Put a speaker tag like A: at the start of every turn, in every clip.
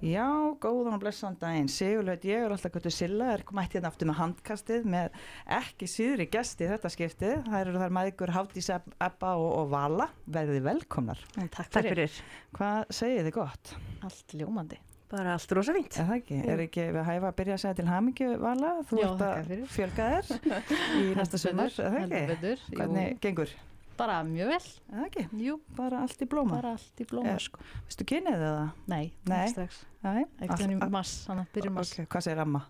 A: Já, góðan og blessan daginn, sigurlaut, ég er alltaf göttu Silla, er mætt hérna aftur með handkastið með ekki síðri gesti í þetta skiptið, það eru þar maður Hafdís Eb- Ebba og, og Vala, verðið velkomnar.
B: Takk
C: Takk
B: fyrir.
C: fyrir.
A: Hvað segið þið gott?
B: Allt ljómandi.
C: Bara allt rosa fínt.
A: Er það ekki? Er ekki við hæfa að byrja að segja til hamingju Vala? Þú
B: Já,
A: ert
B: þakka
A: að
B: fyrir.
A: fjölga þér í næsta sumar, er það
B: Heldur
A: ekki?
B: betur. jú.
A: Hvernig gengur?
B: Bara mjög vel.
A: Er það ekki?
B: Jú,
A: Bara allt í blóma.
B: bara allt í blóma.
A: Eh,
B: Sko.
A: Vistu kynið það?
B: Nei,
A: Nei.
B: ekki strax.
A: Nei.
B: Ekkert
A: Allt-
B: hann í
A: allt-
B: mars, hann byrjum mars.
A: ok, Hvað segir amma?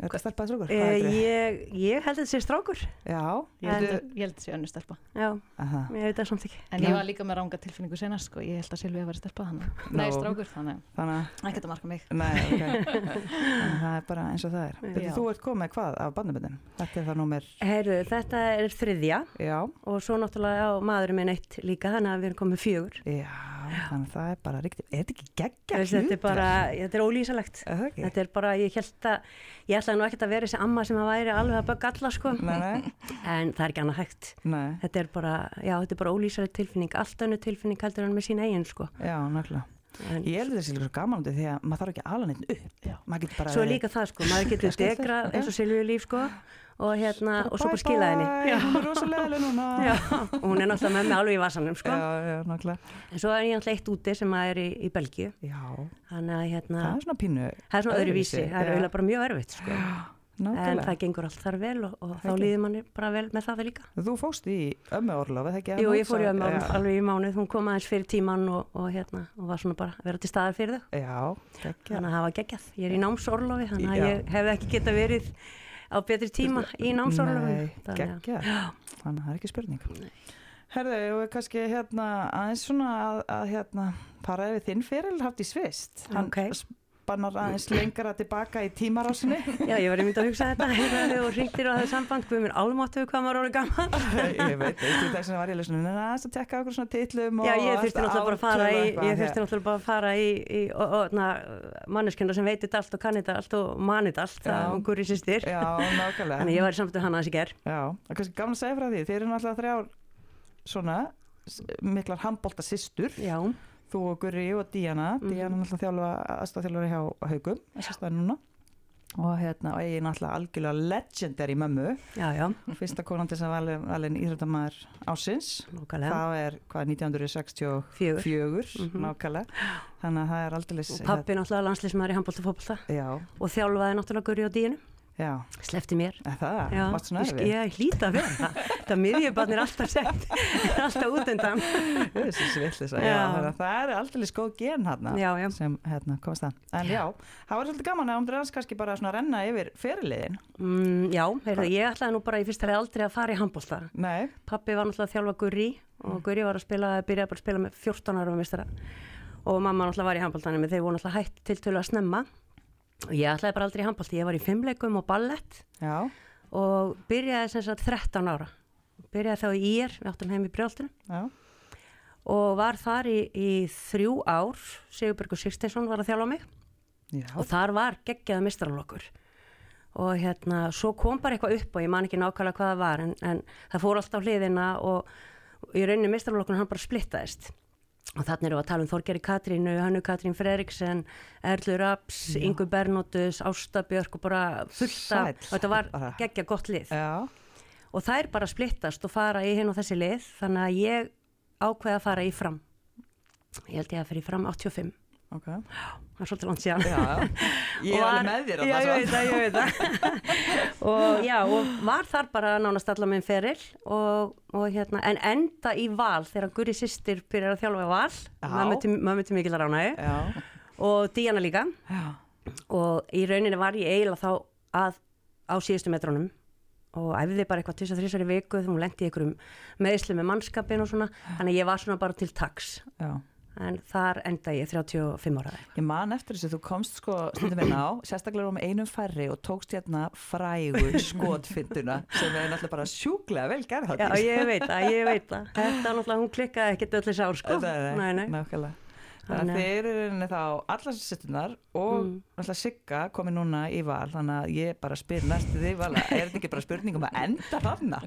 A: Er þetta stelpað strókur?
C: Eh, ég, ég held að þetta sé strákur.
A: Já,
B: Ég held
A: veitu-
B: að- ég held að sé önnur stelpa.
C: Já,
A: Aha.
C: ég veit það samt ekki.
B: En
A: Já.
B: ég var líka með ranga tilfinningu senast, sko. Ég held að Silvi var stelpa hann. Nei, strákur, þannig.
A: Þannig að,
B: Ekkert að marka mig.
A: nei, ok. Þannig að það er bara eins og það er. Þetta
B: Já.
A: þú ert komið hvað af bandaböndin? Þetta er það númer,
C: Herru, þetta er þriðja
A: já,
C: og svo náttúrulega á maðurinn minn eitt líka, þannig að við erum komið fjögur.
A: já, þannig að það er bara ríkt. Er þetta ekki geggja
C: Þessi, þetta er bara, þetta er ólýsalegt.
A: Er það ekki?
C: Þetta er bara, ég held að, ég ætlaði nú ekkert að vera þessi amma sem að væri alveg að bögga alla sko,
A: Nei, nei,
C: en það er ekki annað hægt.
A: nei,
C: Þetta er bara, já, þetta er bara ólýsalegt tilfinning, allt önnu tilfinning heldur hann með sín eigin sko.
A: já, nákvæmlega.
C: En,
A: Ég heldur þessi líka svo gaman um þetta því að maður þarf ekki að ala neitt upp.
B: Já.
A: Maður getur bara...
C: Svo er líka það sko, maður getur
A: Skemmtilegt,
C: degra
A: já.
C: eins og Silvíu líf sko og hérna, og svo bara skila henni.
A: Já, hún er rosalega núna.
C: Já, og hún er náttúrulega með mig alveg í vasanum sko.
A: já, já, nákvæmlega.
C: En svo er ég náttúrulega eitt úti sem að er í, í Belgíu.
A: Já,
C: Þannig að hérna,
A: það er svona pínu.
C: það er svona öðruvísi, það er
A: já.
C: auðvitað bara mjög erfitt sko. En
A: Nákvæmlega.
C: það gengur allt þar vel og, og þá
A: Ekki.
C: líður manni bara vel með það líka.
A: Þú fóst í ömmu orlof, eða ekki?
C: Jú, ég fór í ömmu
A: Já.
C: alveg í mánuð, hún kom aðeins fyrir tíman og, og hérna, og var svona bara að vera til staðar fyrir þau.
A: Já, geggja.
C: Þannig að það var geggjað. Ég er í námsorlofi, þannig
A: Já.
C: að ég hef ekki geta verið á betri tíma í námsorlofi.
A: Nei, geggja. Þannig að það er ekki spurning. Herðu, og kannski hérna aðeins svona að, að hérna fara yfir þinn feril haft í svist. Hann
C: Ókei.
A: spannar aðeins lengra tilbaka í tímarásinni.
C: Já, ég var einmitt að hugsa þetta hérna, og ringtir á það samband, guð mér almáttu hvað maður orðið gaman.
A: ég veit, ekki þess að var ég lesunum, en aðeins að tekka okkur svona titlum og
C: Já, ég þurfti náttúrulega bara að fara
A: ártöl
C: í,
A: og
C: ég þurfti
A: eitthvað,
C: náttúrulega bara að fara í, í og, og, na, manneskjöna sem veit þetta allt og kanni þetta allt og mani þetta allt,
A: Já.
C: það hún gurri sýstir.
A: Já, nákvæmlega.
C: Þannig ég var í samtöðu hann aðeins í ger.
A: Já, það er kannski gaman að segja frá því. Þeir eru náttúrulega þrjár svona s- miklar handbólta systur.
C: Já,
A: þú og Gurri og Díana
C: Mhm.
A: Díana er náttúrulega þjálfa, aðstofþjálfari hjá Haugum það er núna og hérna, og ég er náttúrulega algjörlega legendary mömmu,
C: já, já,
A: fyrsta konan til sem valin, valin íþjóttamæður ásins
C: nákvæmlega.
A: það er hvað 1964
C: Fjögur. Mhm.
A: nákvæmlega þannig að það er aldrei
C: Og pappi náttúrulega landslýsmaður í handbólta fókbólta
A: já,
C: og þjálfaði náttúrulega gurri á díinu.
A: já,
C: Slefti mér.
A: Er það,
C: Já,
A: varst svona
C: ég sk-
A: erfið
C: ég hlýta að vera það. Það miðjubarn er alltaf sett, er alltaf út undan.
A: þessi svillisa, já,
C: Já.
A: þannig að það er aldrei góð gen hérna
C: Já, já.
A: sem hérna komast það, en já, það var svolítið gaman að um dræðans kannski bara svona renna yfir fyrirliðin,
C: Mm, já, heyrðu, ég ætlaði nú bara í fyrsta leið aldrei að fara í handbólta.
A: nei,
C: Pappi var náttúrulega að þjálfa Guri og Guri var að spila, byrjaði bara að spila með 14 ára mistara og mamma náttúrulega var í handbóltanum en þeir voru náttúrulega hætt til tölu að snemma og ég ætlaði bara aldrei í handbólti, ég var í fimmleikum og ballett
A: já
C: og byrjaði sem sagt 13 ára byrjaði þá í ír, við áttum heim í brjáltinu
A: Já,
C: og var þar í, í þrjú ár Sigurbergur Sigsteinsson var að þjálfa mig
A: já,
C: og þar var geggjaða mistralokkur og hérna, svo kom bara eitthvað upp og ég man ekki nákvæmlega hvað það var en, en það fór alltaf hliðina og í rauninni mistralokkur hann bara splittaðist og þannig erum við að tala um Þorgeri Katrínu, Hannu Katrín Freriksen Erlu Raps, Ingu Bernóttus Ásta Björk og bara fullt af,
A: Sæll.
C: og þetta var
A: Bara- Eh.
C: geggja gott lið
A: já.
C: og þær bara splittast og fara í hinn og þessi lið þannig að ég ákveða að fara í fram ég held ég að fyrir fram 85
A: Ok.
C: það er svolítið langt síðan
A: Já, ég er alveg
C: Og var-
A: með þér
C: já,
A: þarna,
C: ég
A: sko.
C: veit það, ég veit það og já, og var þar bara nánast allar minn feril og, og hérna, en enda í val þegar Guri sýstir byrjar að þjálfa í val mömmu til- mömmu til mikil ránaði
A: Já,
C: og Díana líka
A: já,
C: og í rauninni var ég eiginlega þá að á síðustu metrónum og æfði bara eitthvað tvisar þrísar í viku þegar hún lendi í einhverjum meðslu með mannskapin og svona þannig að ég var svona bara til taks
A: já.
C: en þar enda ég 35 ára
A: Ég man eftir þessu, þú komst sko stundum inn á, sérstaklega um einum færri og tókst hérna frægu skotfinduna sem er náttúrulega bara sjúklega vel gerð
C: Já,
A: Hafdís.
C: ég veit það, ég veit það. Þetta er náttúrulega, hún klikkaði ekkert öll þessi ár, sko.
A: Nei,
C: nei,
A: nei, nákvæmlega. Þannig að
C: Þannig að-
A: þeir eru henni þá allar sér sittunar og náttúrulega Sigga komið núna í val þannig að ég bara spyr næstu því vala, er þetta ekki bara spurning um að enda þarna?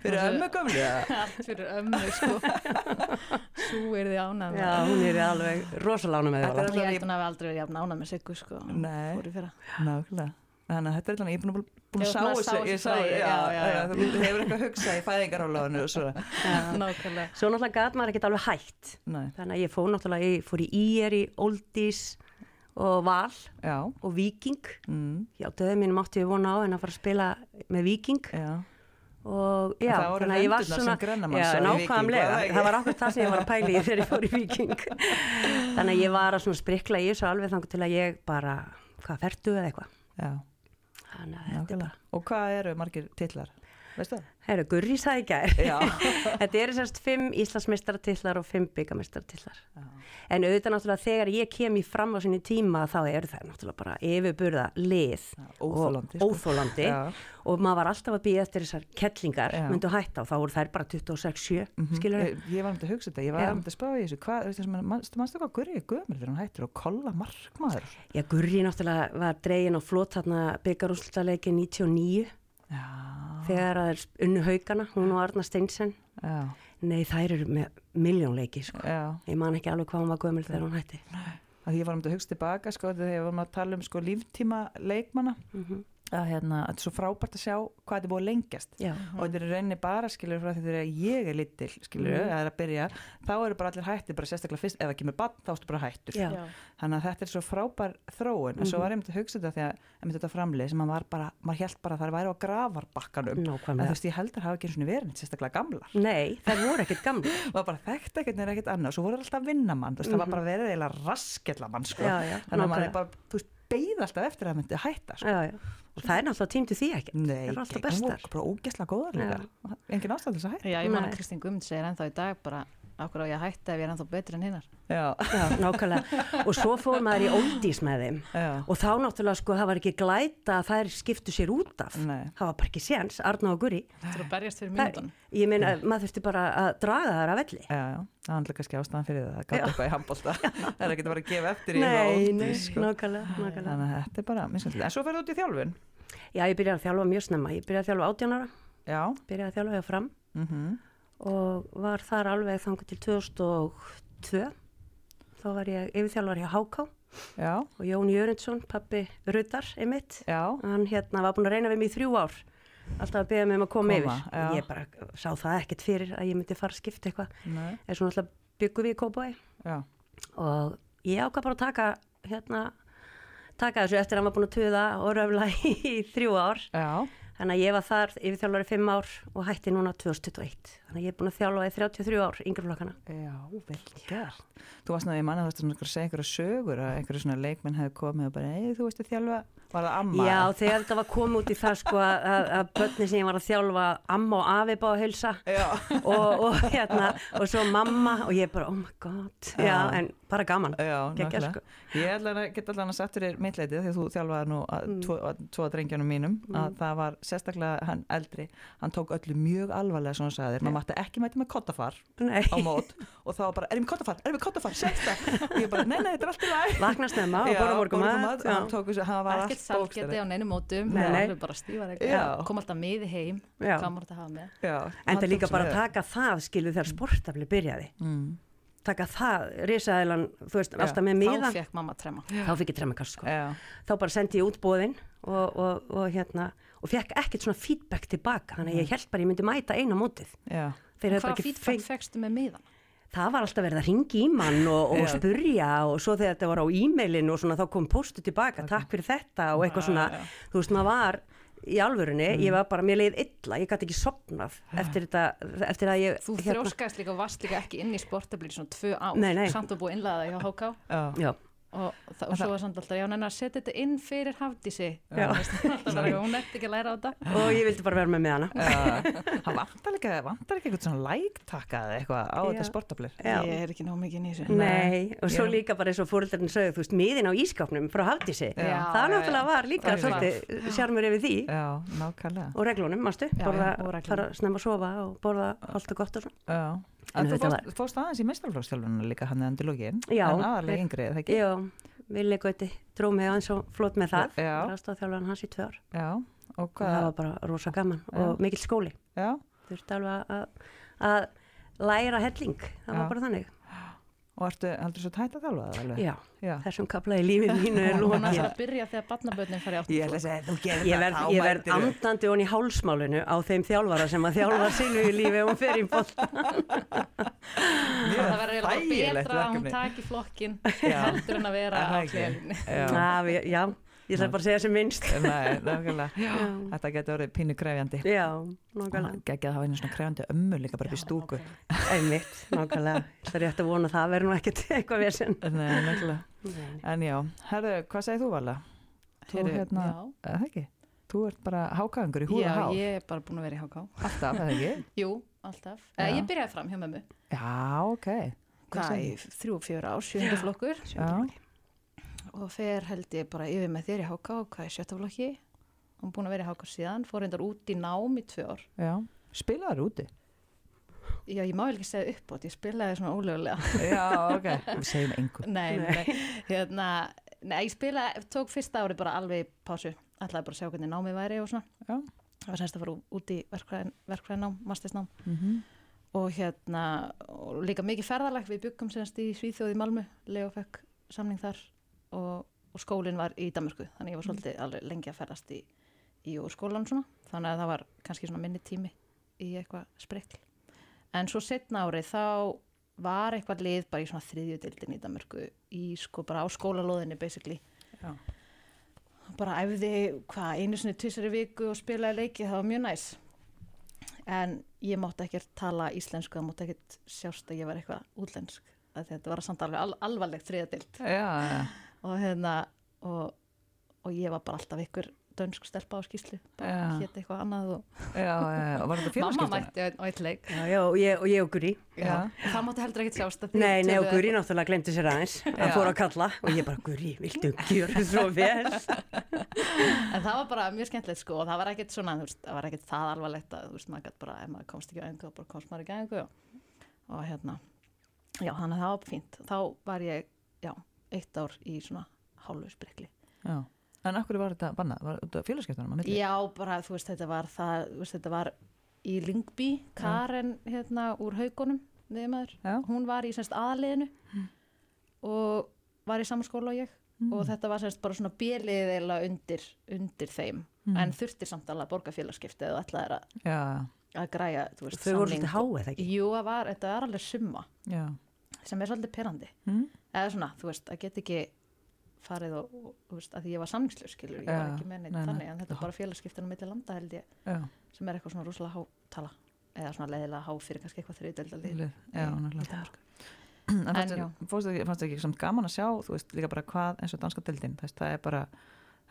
A: fyrir
B: Þessu-
A: ömmu gömlu eða?
B: allt fyrir ömmu sko svo er þið ánað
C: Já, hún er alveg rosalána með
A: Þetta
C: það.
A: er-
B: ég held hún hafi aldrei verið jafn ánað með Siggu sko
A: Nei.
B: fór í fyrra
A: Nákvæmlega. Þannig að þetta er allan, ég er búin að búin- búin
B: Ég
A: að
B: var
A: sá
B: búin að
A: þessu,
B: sá
A: ég
B: þessu
A: sá,
B: fræ,
A: já,
B: já, já,
A: já, þú hefur eitthvað að hugsa í fæðingarálóðinu og svona.
B: nákvæmlega
C: Svo náttúrulega gat maður ekkert alveg hægt.
A: Nei,
C: Þannig að ég fór náttúrulega, ég fór í IR í Oldies og Val
A: já,
C: og Viking.
A: mm,
C: Já, döðum mínum átti ég vona á en að fara að spila með Viking.
A: já,
C: Og já,
A: Það voru
C: þannig að ég var
A: hendurnar
C: svona,
A: sem Grennamann
C: já,
A: sá í Víking, var
C: nákvæmlega,
A: það ekki?
C: það var okkur það sem ég var að pæla í þegar ég fór í Viking. þannig að ég var að svona sprikla í þessu alveg þangur til að ég bara, hvað, ferdu eða eitthvað.
A: já,
C: Þannig að þetta er
A: nákvæmlega.
C: bara,
A: Og hvað eru margir titlar? Veistu það?
C: herru, Gurri sagði í gær.
A: Já.
C: þetta eru sérst fimm Íslandsmeistaratillar og fimm byggamestaratillar.
A: Já.
C: En auðvitað náttúrulega þegar ég kem í fram á sinni tíma þá eru það náttúrulega bara yfirburða lið
A: óþolandi,
C: og,
A: sko.
C: óþolandi.
A: Já.
C: og maður var alltaf að býja eftir þessar kettlingar
A: Já.
C: myndu hætta og þá voru þær bara 26-7 mm -hmm. skilur
A: Ég, ég var um til að hugsa þetta, ég var
C: Já.
A: um til að spá í þessu, hvað, veistu það, manstu, manstu hvað Gurri er gömul þegar hann hættir og kolla markmaður?
C: Já, Gurri náttúrulega var dregin á flót þarna byggarúslutaleiki 99
A: Já,
C: þegar það er unnu haugana, hún og Arna Steinsen
A: já,
C: Nei, þær eru með miljónleiki sko.
A: já.
C: Ég man ekki alveg hvað hún var gömul þegar hún hætti
A: að ég var um til að hugsa tilbaka sko, þegar við varum að tala um sko, líftíma leikmanna
C: Mhm.
A: að hérna, þetta er svo frábært að sjá hvað þetta er búið að lengjast
C: Já,
A: og þetta er í rauninni bara skilur frá því þegar ég er lítil skilur,
C: Mhm.
A: mm. að byrja, þá eru bara allir hættir bara sérstaklega fyrst, ef það kemur bann þá ertu bara hættur
C: Já. Mhm.
B: Já.
A: þannig að þetta er svo frábær þróun en svo var ég um til að hugsa þetta því að um þetta framlið sem maður, var bara, maður held bara að það væri á grafarbakkanum
C: Nákvæmlega.
A: að þú veist ég heldur hafa ekki einu svona verið neitt sérstaklega gamlar
C: Nei, þær voru ekkert gamla
A: var bara þekkt ekkert neina ekkert annað svo voru þær alltaf að vinna mann, þú veist, það var bara verið eiginlega raskella mann, sko,
C: Mhm. Já, já,
A: þannig að maður er
C: nákvæmlega.
A: bara, þú veist, beigð alltaf eftir að það myndi hætta, sko
C: já, já. og það er náttúrulega tímdu því ekkert
A: Nei,
C: það er alltaf
A: gegn-
C: bestar
A: voru bara ógæslega góðar líka, engin ástæð til þess að hætta
B: já, ég man
C: Nei.
B: að Kristín Guðmund segir ennþá í dag bara okkur á ég að hætta ef ég er ennþá betri en hinnar
A: já,
C: já, nákvæmlega, og svo fór maður í óldís með þeim
A: já,
C: og þá náttúrulega sko það var ekki glæta að þær skiptu sér út af
A: Nei.
C: það var bara ekki séns, Arna og Guri
B: þú þurfum að berjast fyrir
C: Þær-
B: mínútan
C: ég meina, maður þurfti bara að draga þær af velli
A: já, já það handla kannski ástæðan fyrir það, það gæti eitthvað í handbólta það er ekki bara að gefa eftir í
C: nei,
A: ódýr,
C: nei,
A: sko.
C: nákvæmlega, nákvæmlega
A: þannig að þetta er bara, minnstæðilega, en svo ferðu út í þjálfun
C: já, ég byrjaði að þjálfa mjög snemma, ég byrjaði að þjálfa 18 ára
A: já,
C: byrjaði að þjálfa hjá fram
A: mhm,
C: og var þar alveg þangu til 2002 þá var ég yfirþjálfar hjá Háká
A: já,
C: og Jón Jörundsson, pappi Rudar, einmitt
A: já
C: hann hérna var búin að reyna við mig í þrjú ár alltaf að beða mig um að koma,
A: Koma,
C: yfir
A: já.
C: ég bara sá það ekkert fyrir að ég myndi fara að skipta eitthvað
A: nei,
C: en svona alltaf byggum við í Kópói
A: já,
C: og ég ákvað bara að taka hérna taka þessu eftir að hann var búin að tuða og röfla í þrjú ár
A: já
C: þannig að ég var þar yfir þjálfari fimm ár og hætti núna 2021 þannig að ég er búin að þjálfa í 33 ár yngri flokkana
A: Já, vel gert. Þú varst náttúrulega, ég manna þú varst svona einhver að segja einhverja sögur að einhverju svona leikmenn hefði komið og bara, ei, þú veist að þjálfa, var það amma?
C: Já, þegar þetta var komið út í það sko að, að- að börni sem ég var að þjálfa amma og afi bá að heilsa
A: Já,
C: og, og hérna, og svo mamma og ég bara, oh my god, já,
A: Já.
C: en bara gaman
A: já,
C: Geggjað,
A: nákvæmlega.
C: sko.
A: Ég ætla að geta allan að setja þér mittleitið því að þú þjálfaði nú að
C: Mm.
A: tvo, að tvo af drengjunum mínum að það var sérstaklega hann eldri, hann tók öllu mjög alvarlega svona sagðir, maður mátti ekki mæta með kottafar
C: Nei.
A: á mót og þá var bara, erum við kottafar, erum við kottafar, segst það og ég bara, nei, nei, þetta er allt í læg
C: Vakna snemma og borða morgumat
A: og hann tók þessu, hann var
B: ekkert salgeti á neinu mótum
C: Nei, nei.
B: það er bara stífar
A: Já.
B: kom alltaf með í heim
C: Já.
B: hvað maður þetta hafa með
C: En það er líka bara að taka það, skilu, þegar sportafli byrjaði.
A: Mm.
C: Taka það, risaðilan, þú veist, alltaf með
B: þá
C: miðan,
B: fekk mamma trema
C: þá fikk ég tremmakast, sko.
A: Já,
C: Þá bara sendi ég út bóðin og, og, og hérna, og fekk ekkert svona feedback tilbaka, þannig að ég held bara að ég myndi mæta eina mótið.
A: já,
C: Þeir hefðu bara
B: hvað
C: ekki
B: feedback
C: feng...
B: fegstu með miðan
C: Það var alltaf verið að ringi í mann og, og
A: Já.
C: spurja og svo þegar þetta var á e-mailinu og svona þá kom postu tilbaka, takk fyrir þetta og eitthvað svona, þú veist, maður var í alvörunni,
B: Mm.
C: ég var bara, mér leið illa, ég gæti ekki sopnað eftir þetta, eftir að ég...
B: Ah. þú þrjóskaðist líka og varst líka ekki inn í sportablir svona tvö ár,
C: Hérna- Nei, nei.
B: samt og búið innlaða hjá HK
A: já.
C: Já,
B: og, þa- og svo var samt alltaf, já, neina, setja þetta inn fyrir Hafdísi
C: Já.
B: Veist, alltaf bara, hún eftir ekki að læra á þetta
C: og ég vildi bara vera með með hana
A: Já, það vantar ekki, vantar ekki eitthvað svona lægtakka eða eitthvað á þetta
C: Já.
A: sportaflir.
C: Já.
B: ég er ekki nóg mikið í þessu
C: Nei, og svo
A: Já.
C: líka bara eins og fóröldarinn sögðu, þú veist, miðin á ískapnum frá Hafdísi,
B: Já,
C: það
B: já,
C: náttúrulega
B: já.
C: var líka
A: Það er
C: svolítið sjarmur yfir því
A: Já, nákvæmlega.
C: og reglunum, mástu,
B: Já,
C: borða,
B: já, og reglunum.
C: fara snemma að sofa og borða allt og gott og svona.
A: Já.
C: En
A: En þú
C: þetta
A: fórst, fórst aðeins í meistarflókstjálfununa líka hann eða endilógin.
C: Já.
A: En aðalega yngri, eða ekki?
C: Já, Vili Gauti dró mig aðeins og flott með það,
A: Já.
C: var aðstofþjálfan hans í tvö ár
A: Já. Og
C: og það
A: hvað,
C: var bara rosa gaman og mikill skóli.
A: já.
C: þurfti alveg að, að læra helling, það
A: Já.
C: var bara þannig
A: Og ertu, heldur svo tætt að þjálfa það alveg?
C: já,
A: Já.
C: þessum kaplaði lífið mínu
B: Hún
C: er
B: er
C: lokið
B: að byrja þegar barnabötnin fari átt
A: Ég ætla að segja, þú gerir
C: Ég
A: það,
C: verð,
A: þá
C: ég verð
A: mætirðu.
C: andandi hon í hálsmálinu á þeim þjálfara sem að þjálfa sinu í lífi og hún fer í bótt.
A: Mjög
B: Það verður eiginlega
A: þægilegt
B: betra að hún
A: verkefni.
B: taki flokkin
A: Já.
B: heldur en að vera
A: Er
B: á
A: það ekki?
B: hljörni
A: Já.
C: Já, já, ég ætla bara að segja sem minnst.
A: Nei, nákvæmlega. Þetta getur orðið pínu krefjandi.
C: Já, nákvæmlega.
A: Gægja að hafa einu svona krefjandi ömmu líka bara upp í stúku.
C: Einmitt, nákvæmlega. Það er rétt að vona að það verður nú ekkert eitthvað vesen.
A: Nei, nákvæmlega. eh, En já, herðu, hvað segir þú Vala? Þú
B: Heyrðu,
A: hérna,
B: já.
A: er það ekki? Þú ert bara hákaðingur í húða
B: Já,
A: há.
B: ég er bara búin að vera í HK
A: Alltaf, er það ekki?
B: Jú, alltaf eh,
A: Já.
B: Ég byrjaði fram hjá mömmu
A: Já, ok.
B: Hvað,
A: segir
B: í þrjú og fjör ár, sjöndu flokkur
A: Já,
B: og fer held ég bara yfir með þér í HK og hvað er sjötta flokki Hún er búin að vera í HK síðan, fór reyndar út í nám í tvö ár
A: já. Spilaður úti.
B: Já, ég má vel ekki segja upp ég spilaði svona ólögulega
A: Já, ok. Við segjum engum.
B: Nei, nei, hérna Nei, ég spilaði, tók fyrsta ári bara alveg í pásu Ætlaði bara að sjá hvernig námið væri og svona
A: Já.
B: Það var semst að fara ú- út í verkfræðin- verkfræðinám, mastersnám
A: Mm
B: og hérna og líka mikið ferðalag við byggum semst í Svíþjóð í Malmu Leo fekk samning þar og, og skólinn var í Danmarku þannig ég var svolítið alveg lengi að ferðast í, í og úr skólan svona þannig að það var kannski svona minni tími í eitthvað sprikl en svo setna árið þá var eitthvað lið bara í svona þriðjudildin í Danmarku í sko bara á skólalóðinni basically
A: Já.
B: bara æfði hvað einu sinni tvisari viku og spilaði leiki það var mjög næs en ég mátti ekkert tala íslensku það mátti ekkert sjást að ég var eitthvað útlensk Af því að þetta var samt alveg al alvarlegt þriðadild
A: Já, já.
B: og, hérna, og, og ég var bara alltaf ykkur dönsk stelpa á skýslu bara
A: Já.
B: hétt eitthvað annað og
A: Já, já, já. Og var þetta
B: mamma
A: félagskiptuna?
B: mætti á eitt leik
C: Já, já, og ég, og ég og Guri.
A: Já.
B: það mátti heldur ekkert sjást að þið
C: Nei, nei, og
B: töluðu-
C: Guri náttúrulega glemdi sér aðeins.
A: Já.
C: Hann fór að kalla og ég bara, Guri, viltu gjöra svo vel?
B: en það var bara mjög skemmtilegt sko og það var ekkert svona, þú veist, það var ekkert það alvarlegt að þú veist, maður gætt bara, ef maður komst ekki á engu og bara komst maður ekki á engu og, og hérna, já, þannig að það var fínt þá var ég, já, eitt ár í svona hálfu sprikli
A: Já. En af hverju var þetta bannað? Var þetta félagskiptunum á milli?
B: já, bara, þú veist, þetta var það, þú veist, þetta var í Lyngby, Karen hérna, úr haugunum, viðmaður
A: Já. Mm.
B: hún var í semst aðliðinu og var í sama skóla og ég
A: Mhm.
B: og þetta var semst bara svona bjelið eða undir, undir þeim
A: Mm.
B: en þurfti samt alveg að borga félagskipti eða ætlaði að,
A: Mhm. Já,
B: að græja þú veist,
C: Þau
B: samning.
C: voru svolítið háið, ekki?
B: Jú, það var, þetta var alveg summa
A: já.
B: sem er svolítið perandi
A: Mm.
B: eða svona, þú veist, að get ekki farið og, og þú veist, að því ég var samningslöf skilur, ég var
A: Já,
B: ekki með
A: nei,
B: neitt
A: nei.
B: þannig en þetta er bara félagskiptinu milli landa held ég
A: Já,
B: sem er eitthvað svona rúslega hátala eða svona leiðilega há fyrir kannski eitthvað þriðdöldalið
A: lið. já, náttúrulega. En
B: En
A: fannst
B: já.
A: þér- fórstu ekki- fannst þér ekki samt gaman að sjá, þú veist, líka bara hvað eins og danska deildin, þú veist, það er bara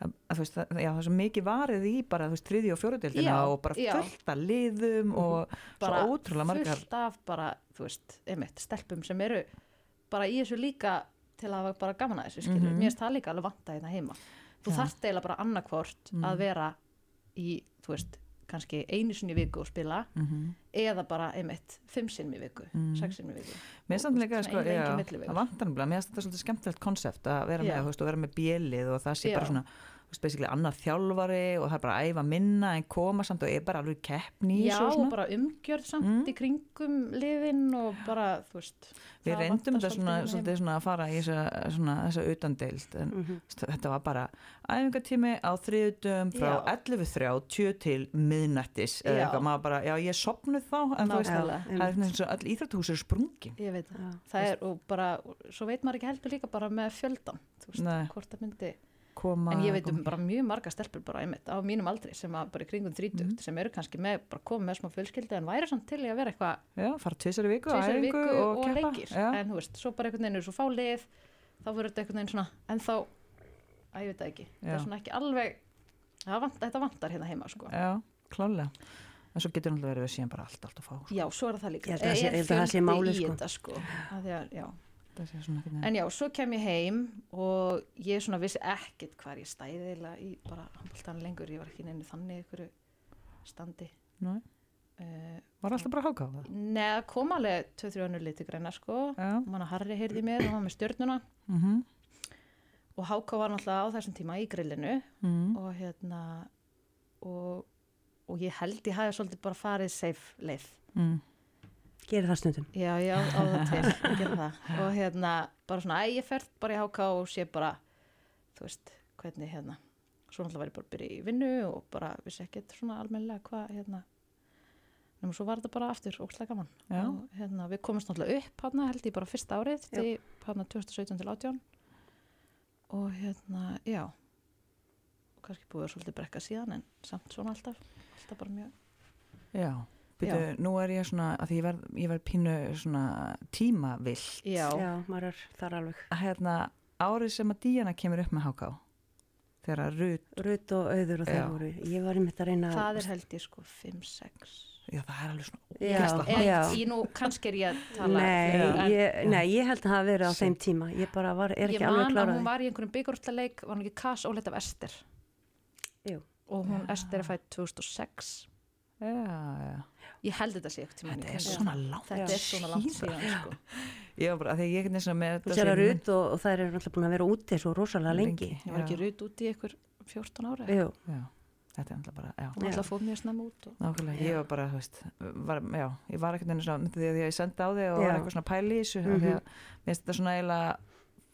A: að, að þú veist, það, já, það er svo mikið varið í bara, þú veist, þriði og fjóru deildina
B: Já,
A: og bara
B: já.
A: fullt að liðum og
B: bara
A: svo ótrúlega margar
B: fullt af bara, þú veist, einmitt, stelpum sem eru bara í þessu líka til að hafa bara gaman að þessu skilur
A: Mhm.
B: mér finnst það líka alveg vanta hérna heima
A: Já.
B: þú
A: Mhm.
B: þarft eiginlega bara annarkvort að vera í, þú veist, kannski einu sinni í viku og spila
A: mm
B: eða bara einmitt fimm sinni í viku,
A: Mhm.
B: sex sinni í viku
A: Mér samt líka,
B: Svona
A: sko,
B: eiginlega
A: já,
B: engin
A: það
B: millivegur.
A: vantar nefnilega, mér finnst þetta svolítið skemmtilegt konsept að vera með,
B: Já.
A: þú veist, og vera með bjelið og það sé bara
B: Já.
A: svona, þú veist, basically annar þjálfari og það er bara að æfa minna en koma samt og er bara alveg keppni í
B: Já,
A: þessu og svona. Mhm.
B: bara umgjörð samt í kringum liðin og bara, þú veist
A: Við
B: það
A: reyndum
B: vantar
A: þetta svona,
B: hérna heima.
A: svolítið svona að fara í þessa, svona, þessa utandeild en
B: Mm.
C: Mhm.
A: þetta var bara æfingatími á þriðutum frá
B: Já.
A: 11.30 til miðnættis eða
B: Já.
A: eitthvað, maður bara, já ég sopnuð þá en þú veist,
B: Nákvæmlega.
A: það það er svona eins og all íþrættuhús er sprungin
B: Ég veit það.
C: Já.
B: Það er og bara, svo veit maður ekki heldur líka bara með fjöldan, þú veist,
A: Nei.
B: hvort það myndi.
A: koma
B: En ég veit um bara mjög marga stelpur bara einmitt á mínum aldri sem að bara í kringum 30
A: Mhm.
B: sem eru kannski með, bara komið með smá fjölskyldi en væri samt til í að vera eitthvað
A: já, fara tvisar í viku, á
B: tvisar í
A: æfingu
B: viku og,
A: keppa.
B: leikir.
A: já,
B: En þú veist, svo bara einhvern veginn er svo fálið, þá verður þetta einhvern veginn svona, en þá, að ég veit það ekki, þetta
A: Já.
B: er svona ekki alveg, það vant, þetta vantar hérna heima sko.
A: já, klálega en svo getur náttúrulega verið síðan bara allt, allt og fá sko.
B: Já, svo er það líka.
C: Ég held að það sé-
B: Er
C: ég held að það sé
B: fjöldi
C: málið,
B: í
C: sko.
B: Þetta, sko. Af því að, já.
A: það sé svona ekki
B: En já, svo kem ég heim og ég svona vissi ekkit hvar ég stæði eða í bara handbóltan lengur, ég var ekki neinu þannig ykkur standi.
A: Nei.
B: Uh,
A: var alltaf bara hákáða
B: neða, kom alveg 2-3 önnur liti greina sko,
A: já,
B: manna Harri heyrði í mér og hann var með stjörnuna
A: mhm mm
B: og
A: Mhm.
B: Háka var náttúrulega á þessum tíma í grillinu
A: Mm,
B: hérna, og hérna og, og ég held ég hafi svolítið bara farið safe leið
A: mm.
C: Gerir það stundum.
B: já, já, á það til, ég gerði það og hérna, bara svona, æ, ég ferð bara í háka og sé bara, þú veist hvernig hérna, svo náttúrulega var ég bara að byrja í vinnu og bara vissi ekkert svona almennilega hvað hérna nema svo var þetta bara aftur, ókslega gaman
A: Já.
B: og hérna, við komumst náttúrulega upp hérna, held ég bara fyrsta árið, til hérna 2017 til 18 og hérna, já og kannski búið að svolítið brekka síðan en samt svona alltaf, alltaf bara mjög
A: Já, byrju, nú er ég svona að ég verð, ég verð pínu svona tímavill
B: já,
C: Já, maður er þar alveg.
A: hérna, árið sem að díjana kemur upp með háká þegar að Rut,
C: Rut og auður og
A: Já.
C: þeir voru. Ég var einmitt að reyna
B: það er held ég sko 5-6
A: já það er alveg svona
C: Já,
A: ógeðslega
B: En
C: já.
B: ég nú, kannski er ég að tala fyrir-
C: Nei,
B: en
C: ég, nei, ég held að það hafi verið á þeim tíma. Ég bara var, er
B: ég
C: ekki alveg
B: man að
C: klárað.
B: hún var í einhverjum byggjórtaleik var hún ekki Kass Ólet af Ester
C: Jú.
B: og hún Ester er fætt 2006
A: Já, já
B: ég held þetta sé ekkert
A: Þetta er svona langt
B: þetta er svona langt
A: síðan.
B: síðan sko.
A: Ég var bara, þegar ég er neins með
C: Þú
A: þetta
C: sér að
A: sem-
C: Rut og, og þær eru alltaf búin að vera úti svo rosalega lengi.
B: ég var ekki
A: já,
B: rutt út í einhver 14 ára
C: Jú,
A: já. Þetta er alltaf bara, já
B: hún ætla að fóð mjög snemma út og...
A: Nákvæmlega, ég var bara, þú veist, var, já, ég var ekkert einu svona, myndi því að ég sendi á þig og
C: Já.
A: var eitthvað svona pæli í þessu, mm
C: Mhm.
A: -hmm. því að mér finnst þetta svona eiginlega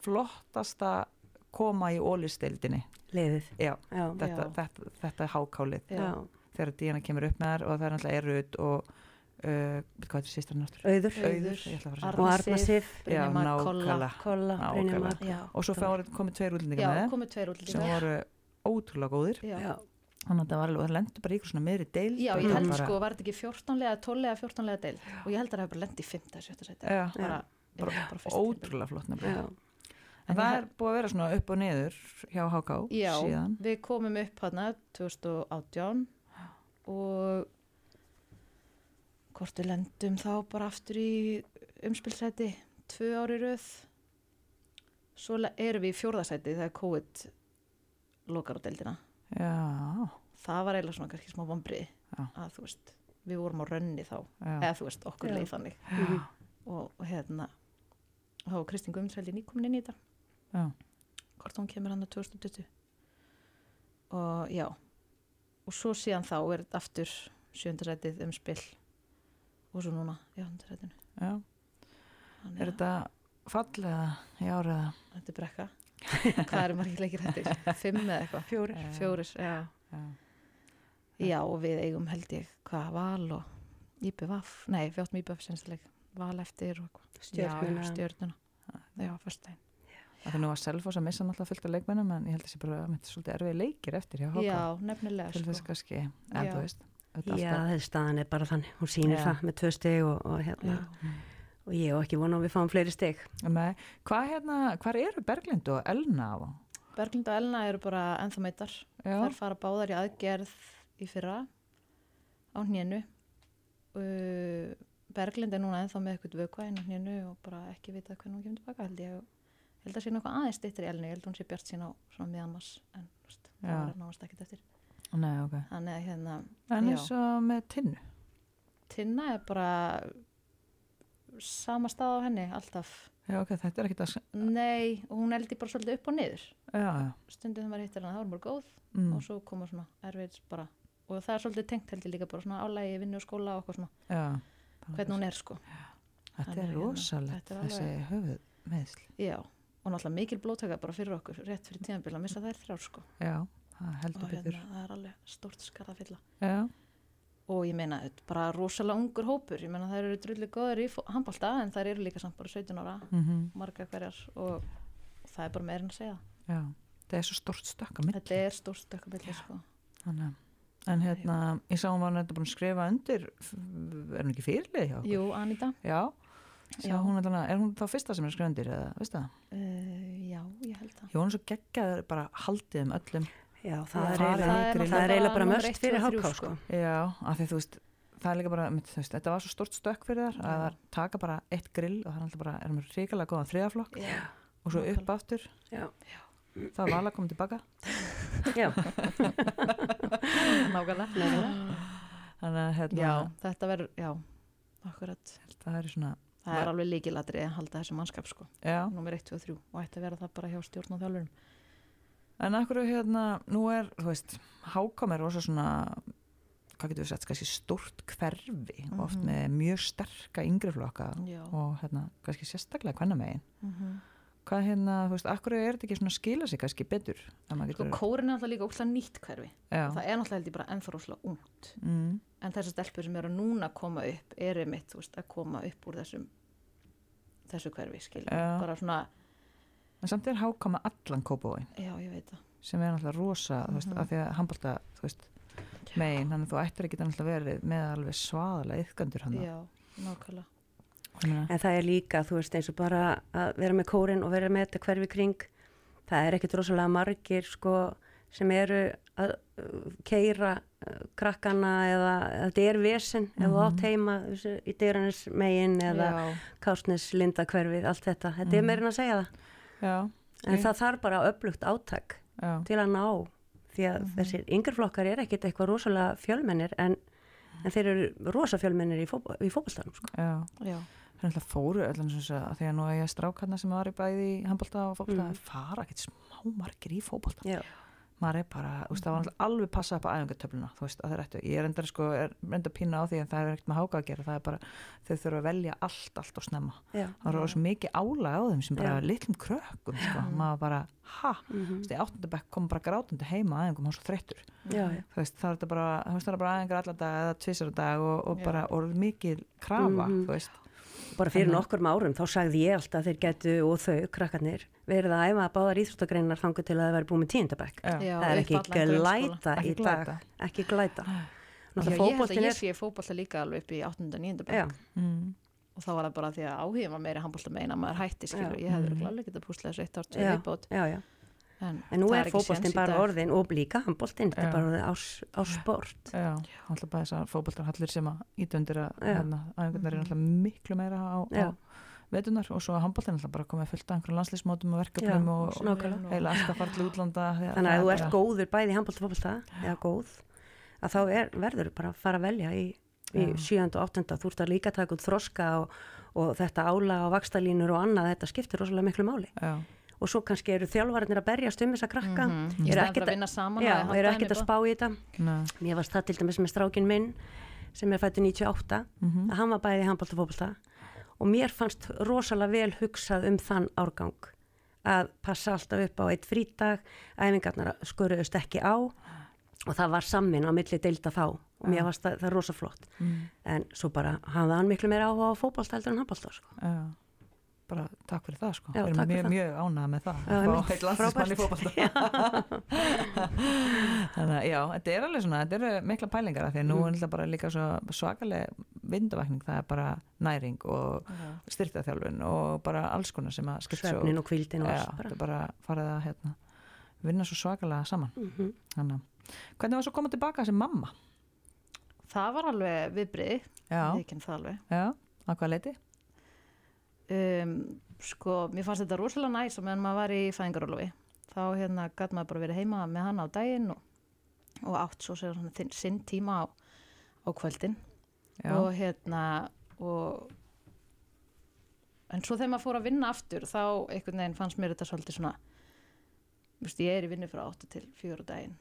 A: flottasta koma í ólistildinni,
C: leiðið.
A: já,
C: Já.
A: þetta,
B: Já.
A: þetta, þetta er hákálið,
B: Já.
C: Já.
A: þegar Díana kemur upp með þær og það er alltaf erut og, uh, veit hvað þetta er sýstir náttúr?
C: Auður
A: Auður, ég ætla að fara að segja.
C: og Arna
A: Já,
C: Sif,
B: Brynja Mar, Kolla
A: Ah, nákvæmlega.
C: Kolla,
A: Já,
C: Brynja
A: Kolla.
C: Mark.
B: já,
A: Og svo fá, komið tveir útlendingar með
B: já
A: þeim
B: komið tveir út
A: sem
B: líka
A: voru ótrúlega góðir,
B: já,
C: Já.
A: þannig að það var alveg, það lendur bara í ykkur svona meðri deild.
B: Já,
A: og
B: ég
A: þetta
B: held
A: var bara-
B: sko, var þetta ekki 14 lega, 12 lega, 14 lega deild og ég held að það hefur bara lendið í 5. að 7. seti
A: Já,
B: bara,
A: Bara
B: já, bara fyrsta tímabil.
A: ótrúlega flott nefnilega.
C: Já.
A: En
B: En
A: það
B: ég-
A: er búið að vera svona upp og niður hjá HK
B: Já,
A: síðan.
B: við komum upp hana 2018 og hvort við lendum þá bara aftur í umspilsæti tvö ári röð svo le- erum við í fjórðasæti þegar COVID lokar á deildina
A: Já,
B: það var eiginlega svona kannski smá vombrið
A: Já.
B: að þú veist, við vorum á rönni þá
A: já,
B: eða þú veist, okkur
C: Já.
B: leið þannig
A: já,
B: og, og hérna þá var Kristín Guðmundsveldi nýkomin inn í þetta
A: já.
B: hvort hún kemur hann á 2020 og já og svo síðan þá er þetta aftur sjöndarætið um spil og svo núna í áttundarætinu
A: já.
B: þannig
A: Er
B: að
A: þetta fallega í áriða?
B: þetta er brekka hvað eru margir leikir hættir? fimm eða eitthvað?
C: Fjórir.
B: fjóris, já.
A: Já,
B: já og við eigum held ég hvað val og IPVAF nei, við áttum IPVAF sinnsleik val eftir og eitthvað.
C: Stjörnuna.
B: Já, stjörnuna já, fyrstæðin
A: Það er nú að Selfoss að missa náttúrulega fullt af leikmennum en ég held að þessi bara að þetta er svolítið erfið leikir eftir hjá HK.
B: já, nefnilega
A: Til þess
B: sko.
A: kannski, en
B: Já.
A: þú veist,
C: Já,
A: þetta er alltaf.
C: þessi staðan er bara þannig. Hún sýnir
A: Já.
C: það með tvö steg og, og, hérna.
B: Já.
C: og ég á ekki vona að við fáum fleiri steg.
A: Nei, hvað hérna, hvað eru Berglind og Elna á?
B: Berglind og Elna eru bara ennþá meitar
A: Já,
B: Þær fara báðar í aðgerð í fyrra á hnénu. Uh, Berglind er núna ennþá með eitthvað vökuæn á hnénu og bara ekki vita hvernig hún kemur tilbaka held ég. Ég held að sé eitthvað aðeins dittir í elnu, ég held að hún sé bjart sín á svona miðanmars en þú veist, það
A: Já.
B: var náðast ekkert eftir.
A: nei, ok.
B: Þannig að hérna,
A: En
B: Já.
A: eins og með tinnu.
B: Tinna er bara sama stað á henni alltaf.
A: Já, ok, þetta er ekkit að, s-
B: Nei, og hún eldi bara svolítið upp og niður.
A: já, já.
B: Stundum þegar maður hittir hana, þá er hún bara góð
A: Mm,
B: og svo koma svona erfiðs bara og það er svolítið tengt held ég líka bara svona álægi vinnu og skóla og okkur svona,
A: já.
B: hvernig hún er sko
A: Þetta
B: Þannig
A: er
B: að hérna,
A: rosalegt,
B: þetta er alveg-
A: þessi höfuð meðsl.
B: já, og náttúrulega mikil blóttaka bara fyrir okkur, rétt fyrir tíðanbíl að missa þær þrjár sko
A: Já, það heldur
B: og
A: betur.
B: hérna, það er alveg stórt skarð að fylla
A: Já,
B: og ég meina, þetta er bara rosalega ungur hópur ég meina, þær eru drullu góður í handbólta en þær eru líka samt bara 17 ára
A: mhm.
B: marga hverjar og það er bara meira en að segja
A: Já, það er svo stórt stökk að mitt.
B: þetta er stórt stökkabildi sko
A: En hérna, ég sá hún var nættið búin að skrifa undir, f- er hún ekki fyrirlið hjá okkur?
B: Jú, Anita,
A: Já, sá
B: Já.
A: hún allan að, er hún þá fyrsta sem er að skrifa undir eða, veistu það?
B: uh, já, ég held það
A: Jú, hún er svo geggjað bara haldið um öllum.
C: Já,
A: Já,
C: það
A: það er
C: er eiginlega-
A: náttúrulega
C: það er eiginlega bara
B: númer
C: mörst
B: eitt,
C: fyrir
B: tvö, þrjú,
C: háká,
B: sko.
C: sko.
A: Já, af því þú veist, það er líka bara, mitt, þú veist, þetta var svo stórt stökk fyrir þar að
B: Já.
A: þær taka bara eitt grill og það er alltaf bara, erum við ríkilega góðan þriðaflokk
B: já,
A: og svo upp
B: nákvæmlega.
A: aftur.
C: Já.
A: Það var alveg komið tilbaka.
C: sko. Já,
B: nákvæmlega
A: Þannig að hérna,
B: Já, þetta verður, já, akkurat.
A: það er svona,
B: Það er alveg líkilatri að halda þessu mannskap sko,
A: já.
B: nummer 1, 2 og 3 og ætti að vera það bara hjá stjórn og þjálfurum.
A: En akkur hérna, nú er, þú veist, hákom er rosa svona hvað getur við sagt, kannski stórt hverfi
B: Mhm.
A: oft með mjög sterka yngri flokka
B: Já.
A: og hérna, kannski sérstaklega hvenna megin
B: Mm -hmm.
A: hvað hérna, þú veist, akkur er þetta ekki svona að skila sig kannski betur en maður
B: Sko
A: getur,
B: kórin er alltaf líka óslega nýtt hverfi.
A: já,
B: Það er náttúrulega held ég bara ennþá óslega ungt.
A: mm,
B: En þessar stelpur sem eru núna að koma upp eru mitt, þú veist, að koma upp úr þessum þessu hverfi, skilja.
A: Já.
B: Bara svona,
A: en samt er hákama allan kópóin
B: já, ég veit það.
A: sem er náttúrulega rosa, þú
B: Mhm.
A: veist, af því að handbalta, þú veist, megin þannig að þú ættir ekki náttúrulega verið með alveg svaðalega yfgandur hann
B: Já, nákvæmlega.
C: En það er líka, þú veist, eins og bara að vera með kórin og vera með þetta hverfi kring. Það er ekkit rosalega margir, sko, sem eru að keira krakkana eða eða þetta er vesen ef þú átt heima þú veist, í dyranins megin eða
A: já,
C: kásnes linda hverfið, allt þetta. Þetta er meirinn að segja það.
A: já,
C: En það þarf bara öflugt átak
A: já,
C: til að ná því að
B: Mhm.
C: þessir yngreflokkar er ekkit eitthvað rosalega fjölmennir en, en þeir eru rosa fjölmennir í, fótbo í fótboltanum sko.
A: já
B: Já,
A: Það er alltaf fóru öllum sem þess að því að nú að ég strákarna sem var í bæði í handbólta og fótbólta mm. fara ekkert smá margir í fótbólta.
C: Já.
A: Maður er bara, þú veist, það var náttúrulega alveg passa upp á æfingatöfluna, þú veist, að það er eftir. Ég er enda sko, er enda pína á því en það er ekkert með háka að gera, það er bara, þau þurfa að velja allt, allt og snemma.
C: Já.
A: Það var svo mikið álag á þeim sem bara
C: Já.
A: litlum krökkum, sko, maður bara, ha, þú
B: mhm.
A: veist, í áttundabekk kom bara grátandi heima að einhverjum, hann var svo þreyttur
C: Já, já.
A: þú veist, það er þetta bara, þú veist, það er bara aðeins allar dag eða tvisar á dag og, og bara orð mikið krafa, þú veist
C: Bara fyrir nokkrum árum þá sagði ég alltaf að þeir getu og þau, krakkarnir, verið að æfa að báðar íþróttagreinar þangu til að það væri búið með tíundabæk.
A: Já.
B: Já,
C: það er ekki
B: upp allan grunnskóla.
C: glæta
A: Ekki
C: í dag.
A: glæta.
C: Ekki glæta.
B: Já, ég
C: Náttúrulega
B: held að
C: fótboltin
B: ég
C: er...
B: sé fótbolta líka alveg upp í 8. og 9.
C: Já,
B: bekk
A: Mm.
B: og þá var það bara því að áhugin var meiri handbólta meina maður hætti skilur,
C: Já. Mhm.
B: ég hefði mm. alveg getað púslað þessu eitt árt
C: já,
B: tvei viðbót
C: já, já.
B: en,
C: En nú
B: það
C: er
B: ekki séns
C: fótboltin
B: í
C: bara
B: dag.
C: orðin og líka handboltin, þetta
A: Já.
C: er bara orðin á, s- á sport.
A: Já, alltaf bara þessar fótboltarhallir sem að ídöndir að
C: Já. Mhm.
A: hérna, æfingarnar er alltaf miklu meira á, á
C: Já.
A: vetunar og svo að handbóltin alltaf bara komið fullt af einhverjum landslísmótum og verkefnum
C: Já,
A: og, og
C: nákvæmlega.
A: heila alltaf farið til útlanda hérna, því að
C: Þannig
A: það
C: að ef þú
A: er
C: ert
A: bara-
C: góður bæði í handbólta og fótbolta, eða góð, að þá er, verður bara að fara að velja í, í
A: Já.
C: 7. og 8. Þú ert að líka taka út þroska og, og þetta ála og vakstalínur og annað, þetta skiptir rosalega miklu máli.
A: Já,
C: og svo kannski eru þjálfarinnir að berjast um þessa krakka mm
B: Í staðinn fyrir að vinna saman
C: já,
B: að halda
C: eru
B: henni
C: ekkert að
B: bara.
C: spá í þetta
A: Nei.
C: mér varst það til dæmis með strákin minn sem er fættu 98
A: Mhm.
C: að hann var bæði handbólta og fótbolta og mér fannst rosalega vel hugsað um þann árgang að passa alltaf upp á eitt frítag æfingarnar skuruðust ekki á og það var samin á milli deilda þá og mér varst það, það rosa flott
A: Mm.
C: en svo bara hafði hann miklu meira áhuga á fótbolta heldur en handbólta sko.
A: já bara takk fyrir það sko,
C: Já,
A: við erum
C: takk fyrir
A: mjög, mjög
C: það.
A: ánægða með það
C: Já,
A: að
C: einmitt.
A: fá heill landslísmann í
C: Frábært.
A: fótbolta þannig að já, þetta er alveg svona, þetta eru mikla pælingar af því að nú er
C: Mm.
A: alltaf bara líka svo svakaleg vindavakning, það er bara næring og styrtaþjálfun og bara alls konar sem að skipta svo-
C: svefnin og kvildin og
A: já,
C: allt bara
A: þetta er bara farið að hérna, vinna svo svakalega saman
C: Mhm,
A: þannig að, hvernig var svo að koma tilbaka sem mamma
B: það var alveg viðbrið
A: já,
B: ég kenn það alveg
A: já, að hvað leiti
B: um, sko, mér fannst þetta rosalega næs og meðan maður var í fæðingarólofi þá hérna gæt maður bara verið heima með hann á daginn og, og átt svo sér svona þinn- sinn tíma á, á kvöldin
A: Já.
B: og hérna og en svo þegar maður fór að vinna aftur þá einhvern veginn fannst mér þetta svolítið svona Vist, ég er í vinnu frá 8 til 4 á daginn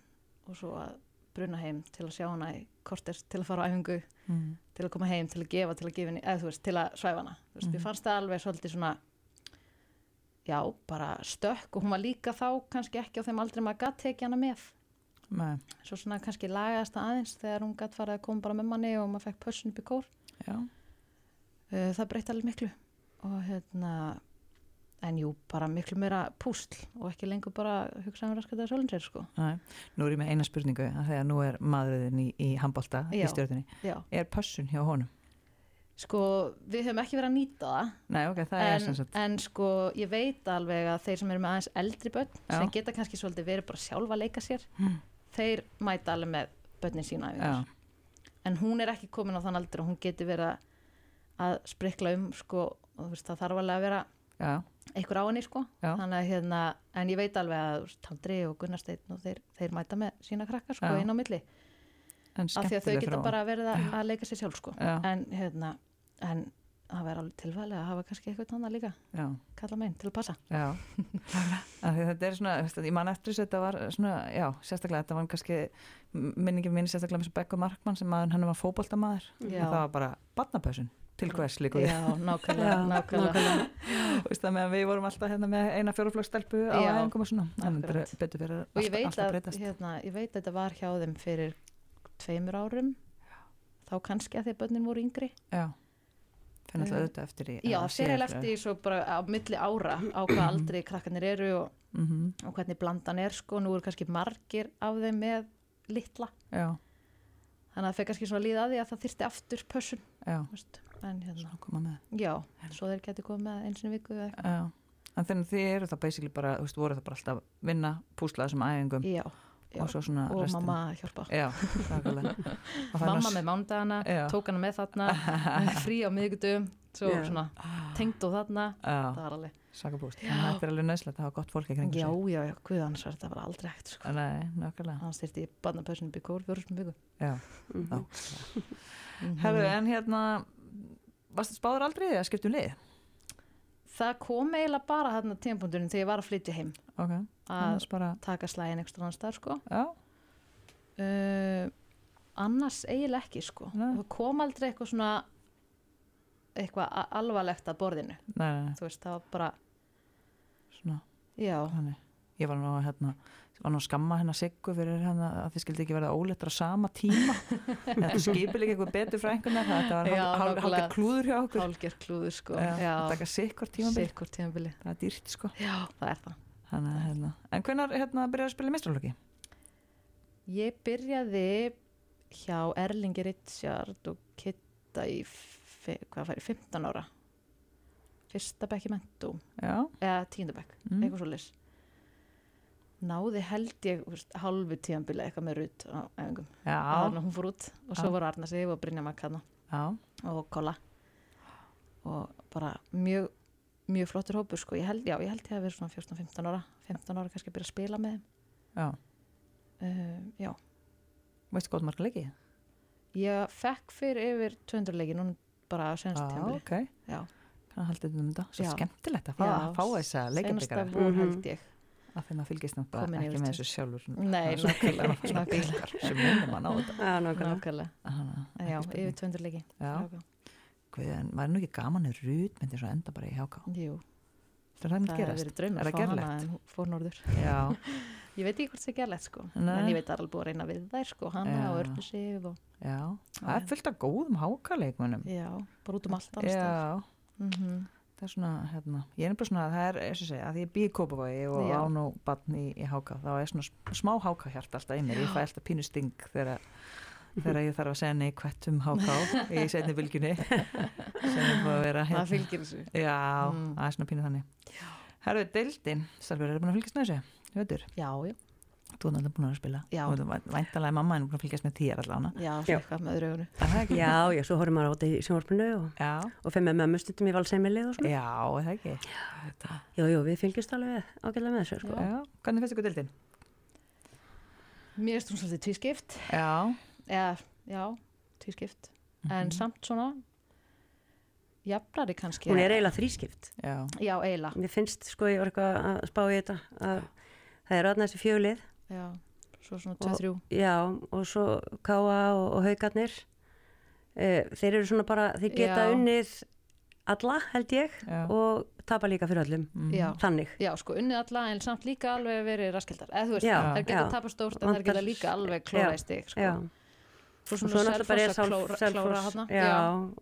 B: og svo að bruna heim til að sjá hana í kortir til að fara á æfingu
A: mm.
B: til að koma heim, til að gefa, til að gefa henni, eða þú veist, til að svæfa hana. Þú veist, ég fannst það alveg svolítið svona, já, bara stökk og hún var líka þá kannski ekki á þeim aldrei maður gatt tekið hana með.
A: Nei,
B: Svo svona kannski lagaðist það aðeins þegar hún gatt farið að koma bara með manni og maður fekk pössun upp í kór.
A: já,
B: Uh, Það breytti alveg miklu og hérna, en jú, bara miklu meira púsl og ekki lengur bara hugsaðum raskat að sjálfum sér, sko.
A: nei. nú er ég með eina spurningu af því að nú er maðurðin í, í handbólta í
B: Já.
A: stjórninni,
B: Já,
A: er pössun hjá honum
B: sko, við höfum ekki verið að nýta það
A: nei, ok, það er
B: en,
A: sem sagt
B: en sko ég veit alveg að þeir sem eru með aðeins eldri börn
A: Já.
B: sem geta kannski svolítið verið bara sjálfa að leika sér þeir mæta alveg með börnin sína
A: Mm. já,
B: æfingar. en hún er ekki komin á þann aldur og hún geti verið að- að sprikla um sko, og þú veist, það þarf alveg að vera
A: já,
B: einhver á henni sko
A: Já.
B: Þannig að, hérna, en ég veit alveg að þú veist, Tandri og Gunnarsteinn og þeir, þeir mæta með sína krakka sko
A: Já.
B: inn á milli
A: en
B: af því að þau
A: skemmtileg
B: geta
A: þróun.
B: bara verið að, að leika sér sjálf sko
A: Já.
B: en, hérna, en það væri alveg tilvæli að hafa kannski eitthvað annað líka
A: já,
B: kalla meginn til að passa
A: já. Af því þetta er svona, veist, ég man eftir þessu þetta var svona, já, sérstaklega þetta var kannski minningin mín sérstaklega með þessu Becco Markmann sem maður hann var fótboltamaður
B: Já.
A: og það var bara barnapössun til hvers líka því
B: Já, nákvæmlega,
C: Já,
B: nákvæmlega.
A: Veist það með að við vorum alltaf hérna með eina fjóraflögsstelpu á
B: Já.
A: aðeingum og svona en þetta
B: Akkurat.
A: er betur fyrir
B: og ég
A: alltaf,
B: veit,
A: alltaf
B: að,
A: breytast
B: hérna, ég veit að þetta var hjá þeim fyrir tveimur árum þá kannski að því að börnin voru yngri
A: Já, finnast
B: Eh,
A: auðvitað eftir í
B: já, sér eða eftir því svo bara á milli ára á hvað aldrei krakkanir eru og,
A: mm
B: og hvernig blandan er sko, nú eru kannski margir af þeim með litla,
A: Já,
B: þannig að það fekk kannski svona líða að því að það þyrfti aftur pössun
A: já,
B: þú veist. en hérna,
A: svona koma með
B: já,
A: Sko,
B: svo þeir geti komið með eins og viku eða
A: Já, en þannig þið eru það basically bara, þú veist, voru það bara alltaf vinna, púsla þessum æfingum
B: eitthvað já, já.
A: og svo svona
B: og
A: restin.
B: mamma að hjálpa
A: Já, þakkarlega
B: mamma með mándagana,
A: Já.
B: tók hana með þarna frí á miðvikudum svo
C: Já.
B: svona tengd og þarna það
A: Já,
B: var alveg,
A: sakabúst, þannig að þetta er alveg nöðslegt að hafa gott fólk í kringu
B: já, já, já, guð annars var þetta bara aldrei hægt, sko,
A: Nei, nákvæmlega
B: annars þyrfti ég barnapössunum bygg og fjórusunum bygg
A: Já,
C: mhm.
A: nákvæmlega
B: Mhm.
A: Herðu, en hérna Varstu spáður aldrei í því að skiptum lið?
B: það kom eiginlega bara þarna tímpundurinn þegar ég var að flytja heim
A: Ok,
B: að
A: annars bara
B: taka slægin ekstra annars þar, sko
A: Já,
B: uh, annars eiginlega ekki, sko
A: Nei.
B: það kom aldrei eitthvað svona eitthvað a- alvarlegt að borðinu
A: nei, nei, nei,
B: þú veist, það var bara,
A: svona
B: já
A: þannig. Ég var nú að hérna, var nú að skamma hennar Siggu fyrir hérna að þið skildi ekki verða óleittra sama tíma. þetta skipil ekki eitthvað betur frá einhvern veginn. Þetta var
B: Já,
A: hálf- hálf-
B: nákvæmlega.
A: hálfgerð klúður hjá okkur.
B: hálger klúður, sko
A: Já, að
B: já,
A: taka Siggur tímabil.
B: sikkur tímpili
A: Það er dýrt sko.
B: já, það er það
A: Þannig, að, hérna. En hvenar hérna, byrjar að spila mistralöki?
B: Ég byrjaði hjá Erlingi Richard og Kitta í, fi- hvað fær, ég, 15 ára. Fyrsta bekk í mentum,
A: Já,
B: eða tíndabekk, mm.
A: mm.
B: eitthvað svo lis. Náði held ég þú veist, halvu tíðanbila eitthvað með rút á efingum.
A: já,
B: Þannig að hún fór út og svo
A: Já.
B: voru Arna sig og Brynja Makana
A: já,
B: og Kolla. Og bara mjög, mjög flottur hópur sko. Ég held, já, ég held ég að vera svona 14-15 ára. 15 ára kannski að byrja að spila með þeim.
A: já.
B: Uh, já.
A: Veistu gott marga leiki?
B: Ég fekk fyrir yfir 200 leiki núna bara á senast tímabili.
A: ok.
B: Já,
A: Þannig haldið um þetta. Svo
B: Já.
A: skemmtilegt að fá,
B: Já.
A: fá þess að
B: senasta
A: leikendikara.
B: vor
C: Mhm.
B: held ég.
A: Af því maður fylgist náttúrulega
B: Komin
A: ekki
B: yfir
A: með
B: til.
A: þessu sjálfur.
B: Nei,
A: Svona-
B: nákvæmlega,
A: svona
B: nákvæmlega.
A: bylgar sem minnum að ná þetta.
C: Já, nákvæmlega.
B: Nákvæmlega,
A: Þannig að
B: já,
A: ekki spurning.
B: yfir 200 leiki.
A: Já,
B: Nákvæmlega.
A: hvað, en var nú ekki gaman að rút myndi svo enda bara í HK?
B: Jú,
A: Það er það myndi
B: það hefur
A: gerast.
B: verið draumur
A: Er það
B: að fá hana
A: gerlegt?
B: en hún fór norður.
A: Já,
B: Ég veit ekki hvort það er gerlegt sko,
A: Nei.
B: en ég veit að það er alveg búið að reyna við þær sko, hana
A: Já.
B: og Örnu Sif og
A: já. Það
B: Já,
A: er
B: já.
A: fullt af góðum HK-leikmunum.
B: já, bara út um allt annars þar.
A: Mm. Já,
B: Mm
A: það er svona, hérna, ég er bara svona, það er, eins og segja, að því ég bý í Kópavogi og
B: Já.
A: á nú barn í, í HK, þá er svona sm- smá HK-hjart alltaf í mér. Ég fæ alltaf pínu sting þegar þegar ég þarf að segja neikvætt um HK í setni bylginni sem er búið að vera
B: Það
A: hérna.
B: fylgir þessu.
A: Já,
B: Mm.
A: það er svona pínu þannig. Herðu, deildin, Stelbjörn, er búin að fylgjast með þessu? Þú veitur?
B: Já, já,
A: Þú er náttúrulega búin að spila
B: Já.
A: og þú væntalega mamma en búin að fylgjast með þér allan
B: já,
C: Já.
B: eitthvað með öðru ögunu.
A: Er það ekki?
C: Já, já, svo horfum maður á þetta í sjónvarpinu og,
A: Já,
C: og fyrir með mömmu stundum í valseimilið og svona.
A: já, er það ekki Já,
C: Jú, jú, við fylgjumst alveg ágæðlega með þessu, sko.
B: Já.
A: hvernig finnst ykkur dildin?
B: Mér erst hún svolítið tvískipt,
A: Já,
B: eða, já, tvískipt,
A: Mhm.
B: en samt svona, jafnari kannski.
C: Hún er eiginlega þrískipt.
A: já,
B: Já, eiginlega.
C: Mér finnst, sko, ég var eitthvað að spá í þetta, að það eru aðna þessi fjölið,
B: Já, svo svona
C: Og-
B: 2-3
C: já, og svo Káa og, og Haukarnir. Eh, þeir eru svona bara, þeir geta
B: Já.
C: unnið alla, held ég,
A: já
C: og tapa líka fyrir öllum.
A: mhm.
B: Já.
C: Þannig.
B: Já, sko, unnið alla en samt líka alveg verið raskildar eða þú veist,
C: Já,
B: þær geta
C: já.
B: tapað stórt en þær
C: Vantar-
B: geta líka alveg klóra
C: já,
B: í stig sko.
C: Já.
B: Svo
C: og svo
B: svona
C: náttúrulega bara er
B: selfoss að
C: Selfoss
B: klóra, klóra hana
C: já.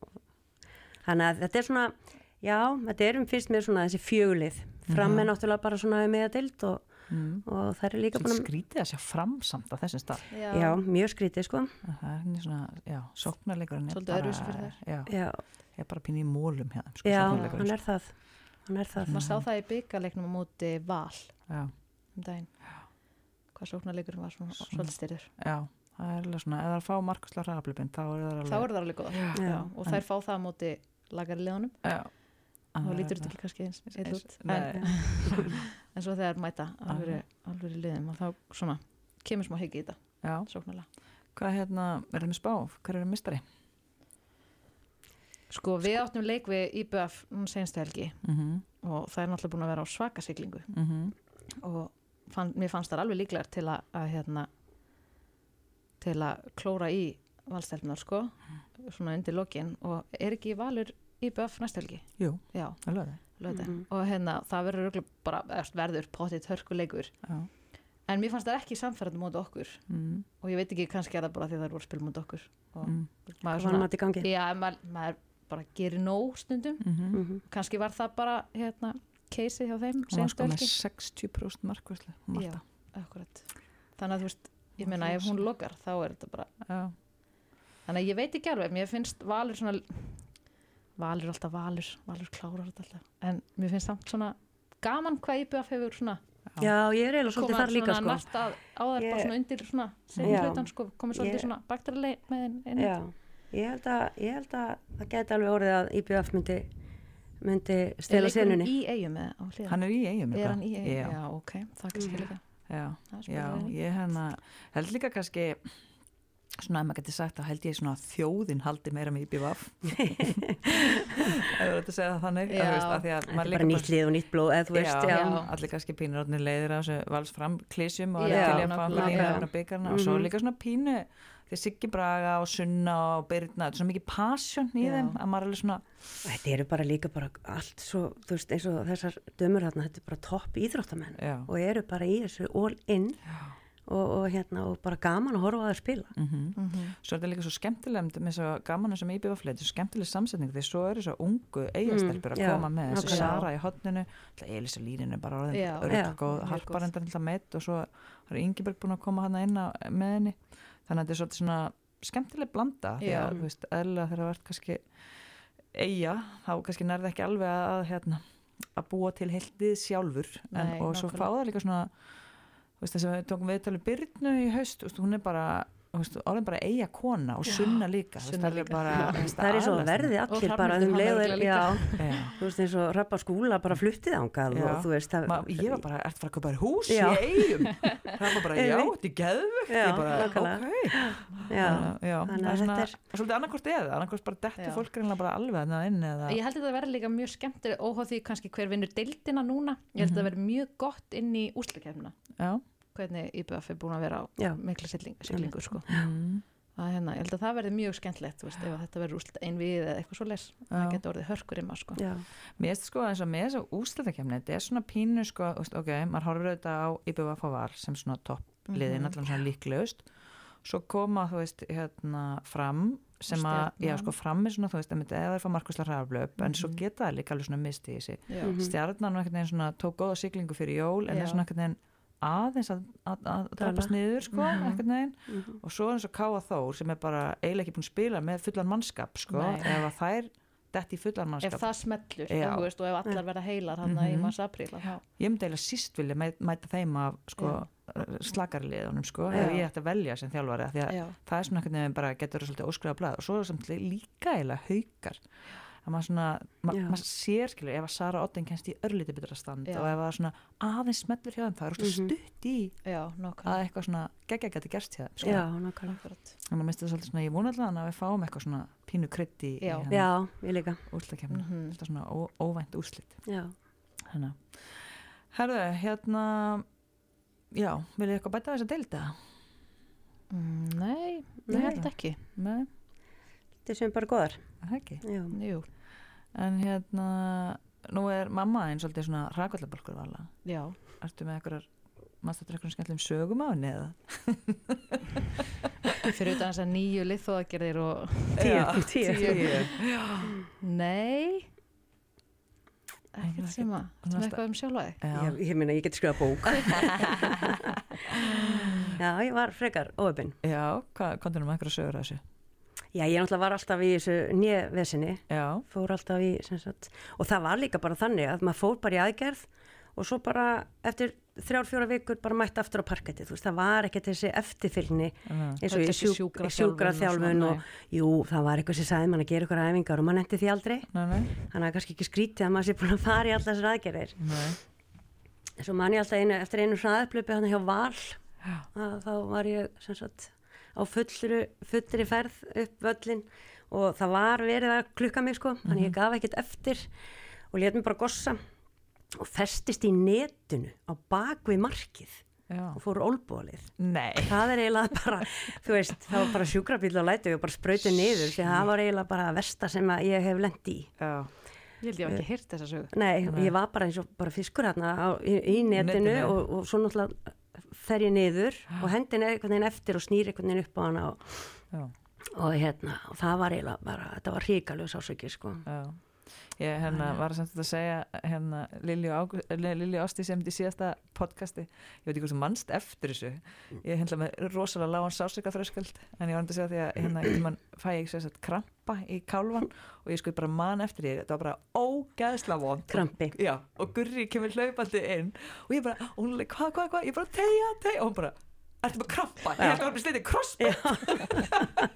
C: þannig að þetta er svona já, þetta er um fyrst mér svona þessi fjöglið fram er náttúrulega bara svona meða dild og,
A: Mm.
C: og það er líka
A: Svona
C: búin
A: skrítið að sjá framsamt að þessum stað
B: já,
C: að já, mjög skrítið sko
A: Það er henni svona, já, sóknarleikurinn er
B: Svolítið
A: bara-
B: öðruvísi fyrir þær.
A: Já,
C: já,
A: ég er bara pínu í mólum hérna sko,
C: já
A: sóknarleikurinn,
C: hann er það hann er það
B: maður sá það í byggaleiknum á móti val
A: sko. Já,
B: um daginn hvað sóknarleikurinn var svona,
A: Svona.
B: svolítið styrir
A: já, það er alveg svona, ef það er að fá markaslega hraðablöpinn, þá er það alveg
B: þá eru það alveg góða
A: Já.
B: já, og þær fá það á móti lagari liðanum
A: Já,
B: þá
A: Það er
B: lítur
A: alveg-
B: þetta ekki kannski eins, Ah, eins, Ah,
A: eins-
B: út
A: Nei.
B: en, en svo þegar mæta alveg, alveg liðum og þá svona kemur smá higgi í þetta
A: Já,
B: sóknarlega
A: hvað hérna, erum við spá? Hver er mistari?
B: Sko, við áttum leik við IBF núna senstu helgi
A: mm -hmm.
B: og það er náttúrulega búin að vera á svaka siglingu og fann, mér fannst það alveg líklegar til að, að hérna, til að klóra í valstelpunar sko, svona undir lokin og er ekki valur IBF næstu helgi?
A: Jú,
B: Já,
A: alveg það.
B: lögðu
C: Mhm.
B: og hérna, það verður örugglega bara, eða verður potið hörkuleikur
A: Já.
B: en mér fannst það ekki samferðan mót okkur
A: Mm.
B: og ég veit ekki kannski er það bara því það voru spil mót okkur og
A: Mm.
C: Mhm. Hvað var maður í gangi?
B: já, maður, maður bara gerir nóg stundum
A: Mhm.
C: Mhm.
B: kannski var það bara hérna, keisið hjá þeim
A: Hún var
B: seinustu
A: sko með
B: helgi.
A: 60% markvæslu.
B: Já, akkurat. Þannig að þú veist, ég meina ef hún lokar þá er þetta bara,
A: Já.
B: þannig að ég veit ekki alveg, mér finnst valur svona, valur er alltaf valur, valur klárar þetta alltaf, en mér finnst samt svona gaman hvað IBF hefur svona
C: Já, ég er eiginlega svolítið
B: komað
C: þar líka
B: svona
C: sko.
B: nart að, á það bara
C: Ég-
B: svona undir svona
C: Já.
B: sinni hlutan sko, komið svolítið
C: Ég-
B: svona baktarleik með henn inn.
C: Já, ég held að, ég held að það geti alveg orðið að IBF myndi, myndi stela senunni.
B: Í eigum eða á hliðan?
A: Hann er í eigum.
B: Er hann í eigum?
A: Já,
B: Já, ok, það er
C: Mhm.
B: kannski líka.
A: já.
B: um það er
A: Já,
B: spurning.
A: ég hérna, held líka kannski svona ef maður getur sagt þá held ég svona að þjóðin haldi meira með IBVF ef þú verður að segja það þannig að,
B: Já.
A: þú veist, að því að
C: Þetta
A: maður
C: er bara
A: líka
C: nýtt lið og nýtt blóð, eða þú veist, já.
A: já, allir kannski pínur orðinni leiðir á þessu valsfram klísjum og
B: Já,
A: allir til ég að fá
B: nákvæmlega.
A: lína byggarna og
C: Mhm.
A: svo er líka svona pínu því Siggi Braga og Sunna og Birna þetta er svona mikið passion í
B: Já.
A: þeim að maður er alveg svona
C: Þetta eru bara líka bara allt svo, þú veist, eins og þessar dömur þarna, þetta er bara topp íþróttamenn
A: Já.
C: og eru bara í þessu all in og, og hérna, og bara gaman að horfa á það að spila.
A: Mhm.
B: Mhm.
A: svo er þetta líka svo skemmtilegum með svo gaman sem IBVF þetta er svo skemmtileg samsetning því svo eru svo ungu eigastelpur
B: Mm,
A: að
C: já,
A: koma með þessi
C: nákvæmlega.
A: Sara í hotninu Elisa Línin er bara
B: Já,
A: orðin
C: já,
A: örg og
B: mjög góð.
A: harparendar alltaf meitt og svo er Ingeberg búin að koma hana inn á, með henni þannig að þetta er svolítið svona skemmtileg blanda því
B: Já.
A: að þú veist, eðlilega þegar það vart kannski eiga þá kannski nærði ekki alveg að hérna, að búa til heldið sjálfur en,
B: Nei,
A: og svo
B: nákvæmlega.
A: fá það líka svona þú veist, þess að við tókum viðtalið Byrnu í haust, þú veist, hún er bara þú veist, orðin bara eiga kona og sunna líka þú veist,
B: Sunna
A: það er
B: líka.
A: bara
B: Já.
A: þú veist,
C: Það er eins og
A: aðlast
C: verði
B: Og
C: allir
B: Hrafnhildur
C: bara um
B: hann
C: leiður,
B: örugglega
C: já,
A: hana. Já.
C: þú veist, eins og rappa skúla bara fluttið ángað
A: Já.
C: og þú veist, það,
A: Ma, ég var bara, ertu að fara að kaupa þér hús
C: Já.
A: í eigum það var bara, já,
C: Einmitt.
A: þetta er geðvögt
C: Já,
A: ég bara,
C: nákvæmlega.
A: ok
C: já,
A: Þannig að- já, það
C: Þannig að
A: er svona,
C: þetta
A: svolítið annarkvort eða annarkvort bara dettu
B: Já.
A: fólk reynilega bara alveg þannig inn eða
B: Ég held að það verði líka mjög skemmtileg óháð því kannski hver vinnur deildina núna ég held að það verði mjög gott inn í úslakefnina
A: já,
B: hvernig IBF er búin að vera á
C: já,
B: mikla sigling, siglingu sko.
A: mm,
B: að, hérna, ég held að það verði mjög skemmtilegt þú veist, ef að þetta verður úslit ein við eða eitthvað svo les það
A: já.
B: getur orðið hörkurima sko.
C: já,
A: mér finnst sko eins og með þess að úslættakefni þetta er svona pínu sko, þú veist, ok, maður horfir auðvitað á IBVF og VAR sem svona toppliðin
B: Mhm.
A: allan svona líklegust svo koma, þú veist, hérna fram sem að, já
B: Stjarnan.
A: sko fram er svona, þú veist, einmitt, eða þeir fá markvæsla hraðaflöp en svo
B: Mhm.
A: geta það líka alveg svona misti í sig
B: Já.
C: Mhm.
A: stjarnan var einhvern veginn svona tók góða siglingu fyrir jól en
B: Já.
A: er svona einhvern veginn aðeins að, að, að drapast niður sko,
B: Mhm.
A: einhvern veginn
C: mhm.
A: og svo eins og Káa Þór sem er bara eiginlega ekki búin að spila með fullan mannskap sko,
B: Nei.
A: ef að þær detti í fullan
B: ef
A: mannskap
B: það smellur
A: Já.
B: ef, þú veist, og ef allar verða heilar hann mm -hmm. í
A: Mhm.
B: mars apríl að þá-
A: ég myndi eiginlega síst vilja mæ- mæta þeim af sko, slakarliðunum sko, ef
B: Já.
A: ég ætti að velja sem þjálfari af því að
B: já.
A: það er svona einhvern veginn bara getur svolítið óskriða blað og svo er samt líka eiginlega haukar að maður svona, ma
C: Já.
A: maður sér skilur ef að Sara Otten kennst í örlítið betra stand
B: Já.
A: og ef að það er svona aðeins smellur hjá þeim það er mm
C: Mhm.
A: stutt í
B: já, nokkar
A: að eitthvað svona geggja geti gerst hjá þeim sko.
C: já, nákvæmlega.
B: Akkurat.
A: þannig að minnst það svolítið svona ég vona allan að við fáum eitthvað svona pínu krydd í
B: Já.
C: Já, ég líka,
A: úrslakefni mm
B: Mhm.
A: þetta svona ó, óvænt úrslit
C: já.
A: hérna. herðu, hérna já, viljið eitthvað bæta þess að deilda
B: Mm, Nei,
C: Nei.
B: ég held ekki
A: með,
C: Þetta sem bara góðar,
A: það ekki
C: já.
B: Jú,
A: en hérna, nú er mamma einn svolítið svona rakvallabalkur vala
B: já
A: ertu með eitthvað maður þetta er eitthvað skemmtilegum sögum á henni eða
B: fyrir utan þess að nýju liðþóðagerðir og
C: Tíu,
A: Já,
C: tíu.
A: tíu.
B: nei
A: það er
B: ekkert sem að
A: hún
B: sem
A: er
B: eitthvað um sjálfa þig
A: Já.
C: Ég, ég meina, ég get skrifað bók. já, ég var frekar óöfinn.
A: já, hvað komdu nú með eitthvað sögur að þessu
C: Já, ég náttúrulega var alltaf í þessu nýjavesinni,
A: já,
C: fór alltaf í, sem sagt, og það var líka bara þannig að maður fór bara í aðgerð og svo bara eftir þrjár, fjóra vikur bara mætt aftur á parkettið, þú veist, það var ekkert þessi eftirfylgni
A: Nei.
C: eins og
B: Öll
C: í
B: þessi
C: sjúk,
B: sjúkraþjálfun og
C: sjúkraþjálfun
B: svona,
C: og, jú, það var eitthvað sem sagði mann að gera ykkur æfingar og mann endi því aldrei,
A: nei, nei,
C: þannig að það er kannski ekki skrítið að maður sé búin að fara í allar þessar aðgerðir.
A: nei.
C: Svo man ég alltaf einu, eftir einu svona aðblöpi hann hjá Val
A: Já.
C: að þá var ég sem sagt á fullri, fullri ferð upp völlin og það var verið að klukka mig sko, þannig ég gaf ekkert eftir og let mig bara gossa og festist í netinu á bakvið markið
A: Já.
C: og fór ólbólið
A: Nei.
C: það er eiginlega bara, þú veist, það var bara sjúkrabíl og lætu og bara sprautu niður því að það var eiginlega bara að versta sem að ég hef lengt í.
D: Já.
B: Ég held ég hef ekki hýrt þessa sögu.
C: Nei, ég var bara eins og bara fiskur hérna á, í, í netinu, Ah.
A: Netinu.
C: Og, og svo náttúrulega fer ég niður og hendin er einhvern veginn eftir og snýr einhvern veginn upp á hana og,
A: Já.
C: og hérna, og það var eiginlega bara, þetta var hríkalög sásöki, sko.
A: Já. Ég hérna, var samt að segja hérna, Lili, Ágúst, Lili Ásti sem í síðasta podcasti, ég veit ekki hvort þú manst eftir þessu, ég er hérna með rosalega lágan sásika þröskald, en ég var að segja því að hérna, mann fæ ég sér satt krampa í kálvan og ég sko bara man eftir því, þetta var bara ógæðsla vond.
C: Krampi.
A: Já, og Gurri kemur hlaupandi inn og ég bara, og hún er hvað, hvað, hvað, ég bara tegja, tegja, og hún bara, ertu bara krampa, ég ætla að vera með slitið krossband.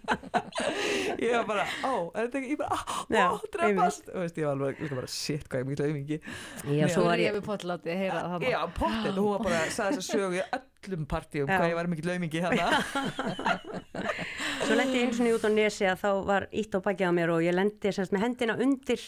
A: ég var bara, ó, er þetta ekki, ég bara, á,
C: Já,
A: ó, drefast, og veist, ég var alveg líka bara, shit, hvað ég er mikið auðmingi.
C: Já, svo
B: Þú
C: var
B: er ég
C: ég,
B: við potlátti að heyra það.
A: Já, pottet, og hún var bara, sagði þess að sögu í öllum partíum,
C: Já.
A: hvað ég var mikið auðmingi hérna.
C: svo lendi ég eins og út á nesi að þá var ítt á bakið á mér og ég lendi semst með hendina undir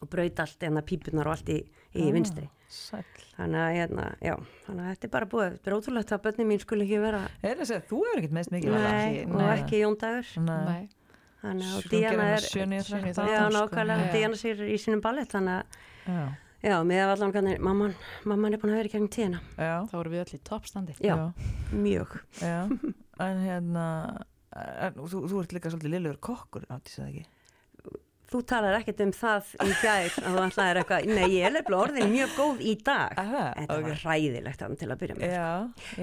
C: og braut allt, hérna pípunar og allt í, í vinstri.
A: Sæll.
C: Þannig að, hérna, já, þannig að þetta er bara búið. Þetta er ótrúlegt að börnin mín skuli ekki vera
A: Er þess að þú hefur ekkert meðst mikið?
C: Nei, og
A: nei.
C: ekki Jóndagur.
A: Nei.
B: Nei.
C: Þannig að
A: Svo
C: og
A: gerir
C: Díana
A: hann
C: er,
A: sjö niður þrettán,
C: já,
A: sko.
C: nákvæmlega,
B: Já.
C: Díana sér í sínum ballett, þannig að,
A: Já,
C: já, með af allan kannir, mamman, mamman er búin að vera í gegnum tíðina.
A: já,
B: Þá vorum við öll í toppstandi.
C: Já, mjög.
A: Já, en hérna en, þú, þú ert líka svolítið liðlegur kokkur átti það ekki
C: Þú talar ekkert um það í gær að þú ætlaðir eitthvað, nei, ég er nefnilega orðin mjög góð í dag.
A: Aha,
C: Þetta var ræðilegt hann til að byrja með.
A: Já,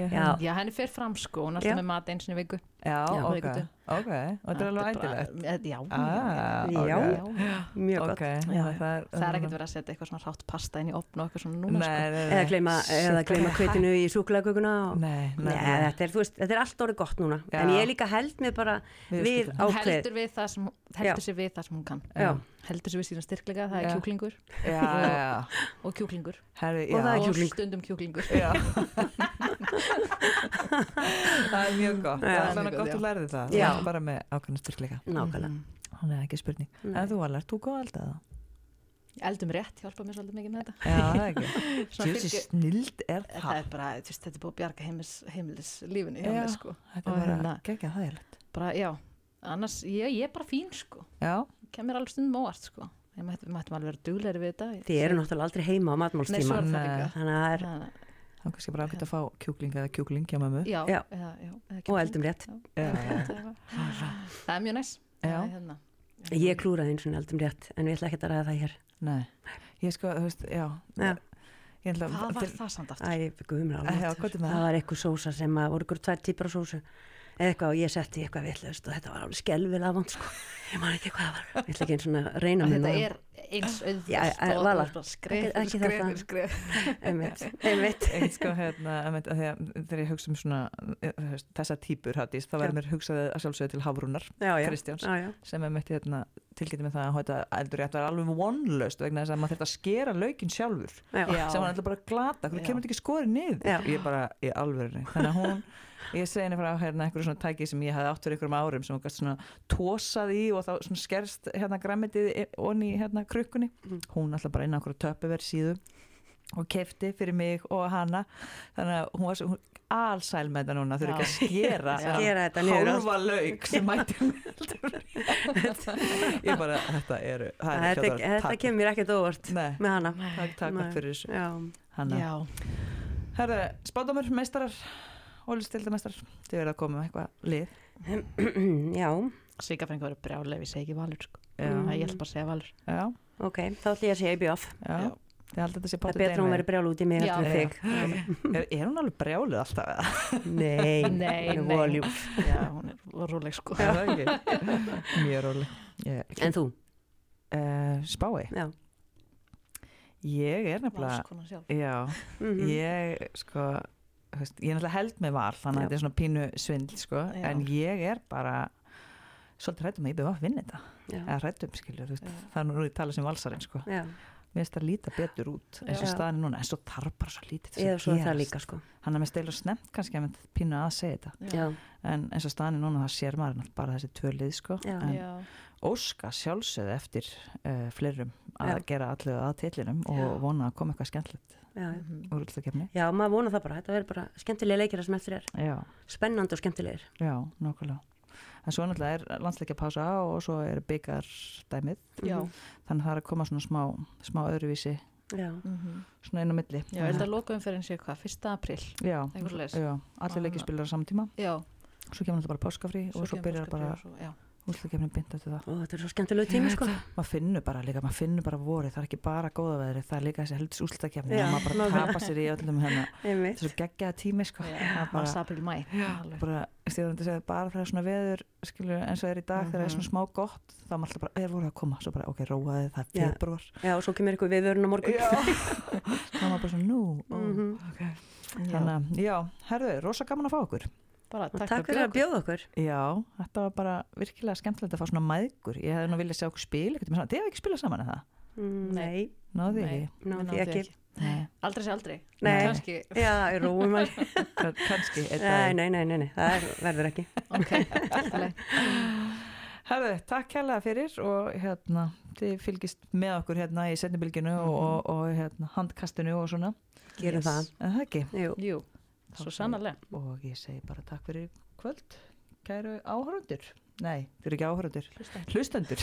A: ég-
C: Já,
B: Já, henni fer fram sko, hún er alltaf
C: Já.
B: með mat eins og í viku.
A: já,
C: Já.
A: ok, ok og þetta er alveg ætilegt
B: ætilegt. Já,
A: Ah,
B: já, já,
C: ok.
B: já, já.
C: mjög gott.
A: Ok,
C: Já,
A: þannig það er
B: Það er ekkert verið að setja eitthvað svona rátt pasta inn í opn og eitthvað svona núna
A: sko.
B: sko.
A: Nei, nei,
C: sko. Eða gleyma, eða gleyma kveitinu í súkuleguguna og...
A: Nei, nei,
C: Nei,
A: nei.
C: þetta er, þú veist, þetta er allt orðið gott núna,
A: Já.
C: en ég líka held mér bara
A: Við
C: við
B: sko. Hún
C: ákveð.
B: heldur, við það sem, heldur
C: Já.
B: sér við það sem hún kann.
C: Já.
B: Heldur sér við sína styrklega, það er
A: Já.
B: kjúklingur
A: Já, já, já
B: og kjúklingur.
A: Herri,
C: Og það
A: já
C: er
B: og
C: kjúkling.
B: stundum kjúklingur.
A: Já Það er mjög gott
C: Já.
A: Það er þannig gott
B: Mjög gott,
A: að lærði það
C: Já.
A: Það er bara með ákveðna styrkleika
C: Nákvæmlega.
B: Mm.
A: Hún er ekki spurning
C: Nei.
A: Mhm. En þú var lært, þú góð alltaf það
B: Eldum rétt hjálpa mér svolítið mikið með þetta.
A: Já, það er ekki
B: Svona
A: Þessi
B: fylgir-
A: snild er
B: Það
A: það
B: er bara, þú veist, þetta er búið að bjarga heimis, heimilis lífinu hjá
A: Já.
B: mér sko.
A: Þetta
B: Og
A: er bara
B: hérna-
A: geggjað þægilegt
B: Bara, já, annars, ég, ég er bara fín sko.
A: Já,
B: Kemur alveg stundum óvart sko. Ég mætti- Við mættum alveg vera duglegri við þetta.
C: Þið eru náttúrulega aldrei heima á
B: Nei, svo
C: matmálstíma.
B: er það
A: Nei.
B: líka.
C: Þannig að það er,
B: Þannig að-
A: þá er kannski bara ágætt að fá kjúkling eða kjúkling hjá mömmu.
B: Já,
C: Já.
B: já. Eða, já eða
C: og
B: kjúkling.
C: eldum rétt.
A: Já, já.
B: Eða- Það er mjög næs.
A: Já.
B: Það er hérna.
C: Ég klúraði eins og eldum rétt, en við ætla ekki að ræða það hér.
A: Nei, ég sko, þú veist, já.
C: Já.
A: Ég ætla
B: Hvað var það samt aftur?
C: Æ, guðmur
A: Æ, já,
C: alveg.
A: hvað er með
C: Það
A: það?
C: var eitthvað sósa sem að voru ykkur tvær típar af sósu. Eða eitthvað og ég setti í eitthvað vitlaust og þetta var alveg skelvilega vond, sko. Ég man ekki hvað það var. Ég ætla ekki eins og að reyna
B: Að
C: mér
B: Þetta er eins
C: Já,
B: auðvitað
C: eh,
B: og
C: Vala,
B: það er bara skref,
C: ekki- ekki
B: skref,
C: þetta.
B: skref.
C: Einmitt, einmitt.
A: Eitt sko, hérna, einmitt, að því að þegar ég hugsa um svona eh, þú veist, þessa típur, Hafdís, þá
C: Já.
A: verður mér hugsaði að sjálfsögðu til Hafrúnar,
C: Já, já.
A: Kristjáns.
C: Já, já.
A: sem er mætti hérna, tilgæti með það að þetta eldur rétt var alveg vonlaust vegna þess að maður þurfti að skera laukinn sjálfur,
C: Já.
B: Já.
A: sem hann ætla bara að glata, hvernig
B: Já.
A: kemur þetta ekki skorið niður?
C: Já.
A: Ég bara, í alvörinu, þannig að hún, ég segi henni frá hérna einhverju svona tæki sem ég hafði átt fyrir einhverjum árum sem hún gætt svona tósað í og þá svona skerst hérna græmitið onni í hérna krukkunni,
C: Mhm.
A: hún alltaf bara inn á einhverju töpuver síðu og kefti fyrir mig og hana þannig að hún var svo hún, alsæl með þetta núna, þurfi ekki að skera
B: Já.
C: Skera þetta niður sko. allt.
A: hálfa lauk sem mætti með heldur rétt. ég bara, þetta eru það er
C: Þetta,
A: hljóðar-
C: þetta
A: takk.
C: kemur ekkert óvart
A: Nei,
C: með hana.
A: takk, takk
C: Nei.
A: fyrir þessu
C: Já.
A: Hanna.
B: Já,
A: Herðu, spátumur, meistarar ólistildameistarar, þið verða að koma með eitthvað lið
C: já,
B: svikafengu verið brjálega, við segjum ekki valur sko.
A: Já.
B: Það ég ætla bara að segja valur.
A: já,
C: Mm. ok. Þá ætla ég að segja í bjóf.
A: já,
B: Já.
A: þið haldið þetta sé
C: Það er
A: pottet
C: betra að hún
A: einlæg.
C: verið brjál út í mig
B: Já.
C: heldur en
A: Já.
C: þig.
A: er, er hún alveg brjálið alltaf eða?
C: Nei,
B: Nei,
C: hún er
B: nei.
C: voljúm.
B: Já, hún er róleg sko.
A: Er það ekki? mjög róli ég,
C: En þú?
A: uh, spái,
C: Já.
A: ég er nefnilega
C: sko.
B: Valskona sjálf.
A: já,
C: Mm
A: ég sko þú veist, ég náttúrulega held með val þannig að
C: Já.
A: þetta er svona pínu svindl sko,
B: Já.
A: en ég er bara svolítið hrættum að ég befa að vinna þetta
C: Já.
A: eða hrættum skilur, þú veist,
B: Já.
A: það er nú ég tala sem valsarinn sko.
C: Já.
A: mér finnst það líta betur út eins og
C: Já.
A: staðan er núna, en svo þarf bara svo lítið til
C: eða
A: þess
C: svo
A: að
C: er það
A: gerast.
C: líka sko
A: hann er með stil og snemt kannski að með pínu að segja þetta
C: já,
A: en eins og staðan er núna það sér maður náttúrulega bara þessi tvö lið sko
C: Já.
A: en
B: já,
A: óska sjálfsögð eftir uh, fleirum að
C: Já.
A: gera allu að tillinum og
B: Já.
A: vona að koma eitthvað skemmtilegt
C: já, já.
A: úr alltaf kemni
C: já maður vona það bara, þetta verður bara skemmtilega leikir það sem eftir er,
A: já,
C: spennandi og skemmtilegir
A: já, nákvæmlega en svo náttúrulega er landsleikja pása og svo er byggardæmið
B: já,
A: þannig það er að koma svona smá, smá öðruvísi
C: já,
B: mhm.
A: svona inn á milli
B: já, ég held að lokaumferðin sé hvað, 1. april
A: já,
B: eitthvað svoleiðis.
A: já, allir leikir spilar á samtíma
B: já,
A: svo kemur náttúrulega bara páskafrí og svo
B: kemur
A: byrjar
B: óskaplega
A: bara
B: og svo- já.
A: úrslega kemni bynd eftir það
C: og þetta er svo skemmtilega tími sko
A: maður finnur bara líka, maður finnur bara vorið það er ekki bara góða veðri, það er líka þessi heldis úrslitakefni
C: Já,
A: og maður bara
C: nákvæmlega.
A: tapa sér í öllum hérna
C: einmitt,
A: þessu geggjaða tími sko Það
B: Já,
A: er
B: mars,
A: bara,
B: april, mæ alveg.
A: bara, stíðan, segja, bara fyrir svona veður skilur, eins og er í dag þegar það er
B: Mhm.
A: svona smá gott þá er maður alltaf bara, er voruð að koma svo bara, ok, róaði það
C: Já.
A: er februar
C: já, og svo kemur eitthvað viðvörun á morgun
A: þá er maður bara svona, nú
C: Mhm.
A: þannig, að, já, herðu, rosa gaman að fá okkur
B: bara
C: og takk fyrir að bjóða okkur
A: Já, þetta var bara virkilega skemmtilegt að fá svona mæðgur. Ég hefði nú viljað sjá okkur spil, eitthvað með svona, þið hefði ekki spilað saman eða það?
C: Mm, nei,
A: Náðu
B: Nei.
A: ekki?
C: náðu því ekki
A: Nei.
B: aldrei sé aldrei
C: Nei.
B: Kannski,
C: já, ég róum alveg
A: Kann- Kannski, einn
C: nei,
A: dag.
C: nei, nei, nei, nei, það er, verður ekki
B: ok, allt í lagi.
A: Herðu, takk kærlega fyrir og hérna, þið fylgist með okkur hérna í sendinbylginu og, og, og hérna, handkastinu og svona.
C: gerum
B: Yes.
A: En það ekki.
C: það, jú
B: jú, svo sannarlega
A: Og ég segi bara takk fyrir í kvöld, kæru áhörundur. Nei, þið eru ekki áhörundur. Hlustendur.